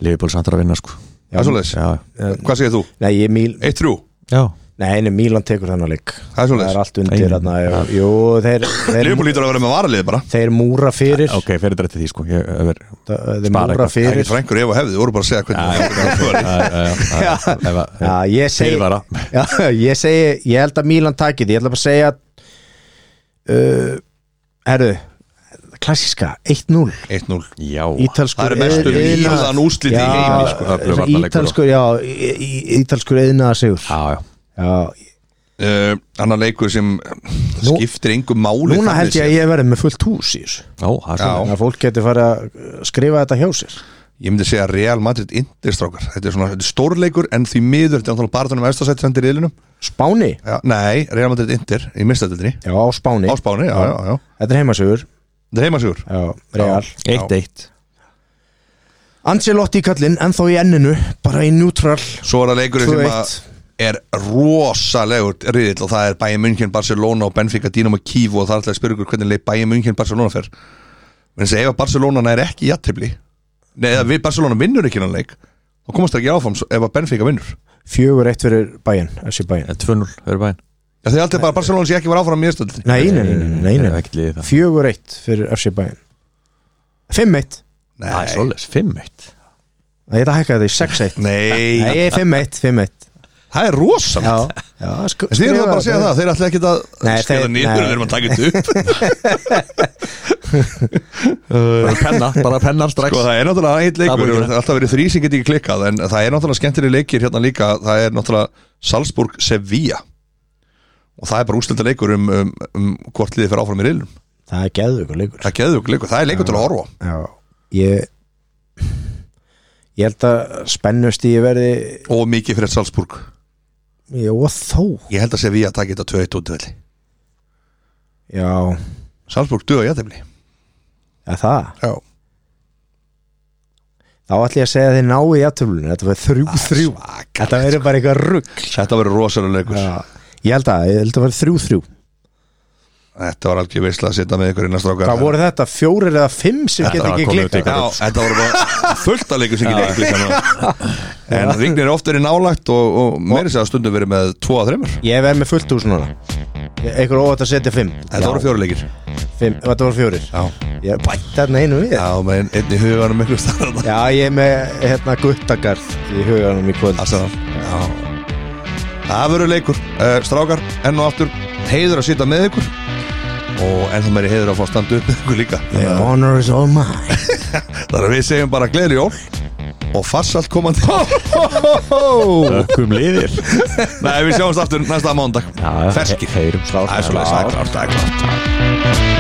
Speaker 3: Liverpool samt er að vinna sko
Speaker 1: það er svoleiðis Eh,
Speaker 3: Já,
Speaker 1: hvað segir þú?
Speaker 2: nei, ég mýl
Speaker 1: 1-3,
Speaker 3: já
Speaker 2: Nei, nei, Mílan tekur þennan leik
Speaker 1: Það er svoleiðis.
Speaker 2: er allt undir
Speaker 3: Ein-
Speaker 2: þarna jú, jú, þeir,
Speaker 1: Liverpool
Speaker 2: þeir,
Speaker 1: lítur að vera með varalið bara
Speaker 2: þeir múra fyrir
Speaker 3: Ok, fyrir þetta til því sko Ég er
Speaker 2: Þeir
Speaker 3: spara
Speaker 2: múra
Speaker 3: eitthvað.
Speaker 1: ekki
Speaker 2: fyrir
Speaker 1: frængur ef og hefði, þú voru bara að segja hvernig
Speaker 2: Já, ég segi
Speaker 3: Fyrirvara.
Speaker 2: Já, ég segi, ég held að Mílan taki því Ég ætla bara að segja uh, Herru Klassíska, 1-0
Speaker 1: 1-0
Speaker 3: Já
Speaker 2: Ítalskur
Speaker 1: það eru mestu
Speaker 2: iðna-
Speaker 1: Mílan úrslit í
Speaker 2: Já,
Speaker 1: heimi sko.
Speaker 3: Það er blöfarnarleikur.
Speaker 2: Ítalskur, já, í- í- ítalskur eðna sigur
Speaker 3: Já, já
Speaker 2: Já,
Speaker 1: uh, annar leikur sem
Speaker 2: Nú-
Speaker 1: skiptir engum máli
Speaker 2: núna
Speaker 1: þannig
Speaker 2: held ég
Speaker 1: séð.
Speaker 2: að ég verði með fullt hús í þessu
Speaker 3: Já, það er
Speaker 1: Já.
Speaker 3: svona
Speaker 2: Þannig að fólk getur farið að uh, skrifa þetta hjá sér
Speaker 1: ég myndi segja Real Madrid Inderstrákar þetta er svona þetta er stórleikur en því miður þetta er náttúrulega barðunum efstasætt sendir í ylinum
Speaker 2: Spáni?
Speaker 1: já, nei, Real Madrid Inder í mistættinni
Speaker 2: Já, á Spáni
Speaker 1: á Spáni, já, já, já
Speaker 2: Þetta er heimasugur
Speaker 1: þetta er heimasugur
Speaker 2: Já, real
Speaker 1: Já.
Speaker 3: Eitt eitt
Speaker 2: Ancelotti kallinn, ennþá í enninu Bara í neutral
Speaker 1: svo er það leikur sem að
Speaker 2: 2-1
Speaker 1: er rosalegur riðill og það er Bayern München, Barcelona og Benfica Dinamo Kiev og það er alltaf að spyrja ykkur hvernig leik Bayern München, Barcelona fer en þess að ef að Barcelona er ekki jættibli neða við Barcelona vinnur ekki hann leik þá komast það ekki áfram svo- ef að Benfica vinnur
Speaker 2: Fjögur eitt fyrir bæinn Þessi bæinn
Speaker 3: 2-0 fyrir bæinn
Speaker 1: Já, þið er alltaf bara að Barcelona sé ekki var áfram í miðstöldinni
Speaker 2: Nei, nei, nei, nei, nei, nei.
Speaker 3: Ekkert liðið það
Speaker 2: Fjögur eitt fyrir FC Bayern 5-1
Speaker 3: Það er svolítið, 5-1
Speaker 2: Það er þetta hækkaði í 6-1
Speaker 1: Nei,
Speaker 2: Nei, 5-1, 5-1
Speaker 1: það er rosalegt
Speaker 2: Já, já sko, sk
Speaker 1: Þið eru það bara að segja það, þeir ætla ekki að
Speaker 2: Nei,
Speaker 1: skrifa
Speaker 2: þeir-
Speaker 1: nýður
Speaker 2: nei.
Speaker 1: en erum að taka þetta upp
Speaker 3: Bara penna, bara penna strax
Speaker 1: Sko það er náttúrulega heitt leikur,
Speaker 3: Dabur,
Speaker 1: það er alltaf verið þrý sem get ekki klikkað en það er náttúrulega skemmtileg leikir hérna líka það er náttúrulega Salzburg Sevilla og það er bara ústelda leikur um, um, um hvort liðið fyrir áfram í reilum
Speaker 2: Það er geðvöku leikur
Speaker 1: það er geðvöku leikur, það er leikur til að horfa á.
Speaker 2: Já, ég Ég held að spennust ég verði
Speaker 1: og mikið fyrir Salzburg
Speaker 2: Jó, og þó
Speaker 1: ég held að Sevilla taki þetta 2-1 út velli
Speaker 2: Já,
Speaker 1: Salzburg duða jættefli
Speaker 2: ja, það
Speaker 1: Já,
Speaker 2: Þá ætlum ég að segja að þið náu í aðtöflunum Þetta var þrjú,
Speaker 3: Ah,
Speaker 2: þrjú Þetta
Speaker 1: svakalegt.
Speaker 2: verður bara eitthvað rugg
Speaker 1: Þetta verður rosalega leikur
Speaker 2: Ég held að, ég held að verður þrjú, þrjú
Speaker 1: Þetta var algjör veisla að setja með ykkur innan strákar
Speaker 2: Hvað voru þetta? Fjórir eða fimm sem
Speaker 3: Þetta
Speaker 2: get
Speaker 3: var
Speaker 2: ekki
Speaker 3: komið út í
Speaker 2: klikkað
Speaker 3: ykkur.
Speaker 1: Já, þetta voru bara fullt að leikur sem get ekki klikkað En Vignir er oft verið nálægt og, og meiri segja að stundum verið með 2-3
Speaker 2: Ég verð með fullt úr svona Eitthvað óvægt að setja fimm
Speaker 1: Þetta voru fjóruleikir
Speaker 2: Fimm, þetta voru fjórir
Speaker 1: Já,
Speaker 2: Ég bætti þarna einu við
Speaker 1: já menn einn í huganum miklu starra
Speaker 2: Já, ég er með hérna guttagarð í huganum í kvöld
Speaker 1: Arsenal Já Það verður leikur, uh, strákar, enn og aftur heiður að sitja með ykkur og ennþá meiri heiður að fá að standa upp með ykkur líka
Speaker 2: The honor is all mine
Speaker 1: Það er að við segjum bara gleðli jól og farsalt komandi
Speaker 3: Ökkum liðir
Speaker 1: Nei, við sjáumst aftur næsta mándag Ferskir
Speaker 3: Heyrum slá
Speaker 1: Það er svo leiðis, það er klárt, það er klárt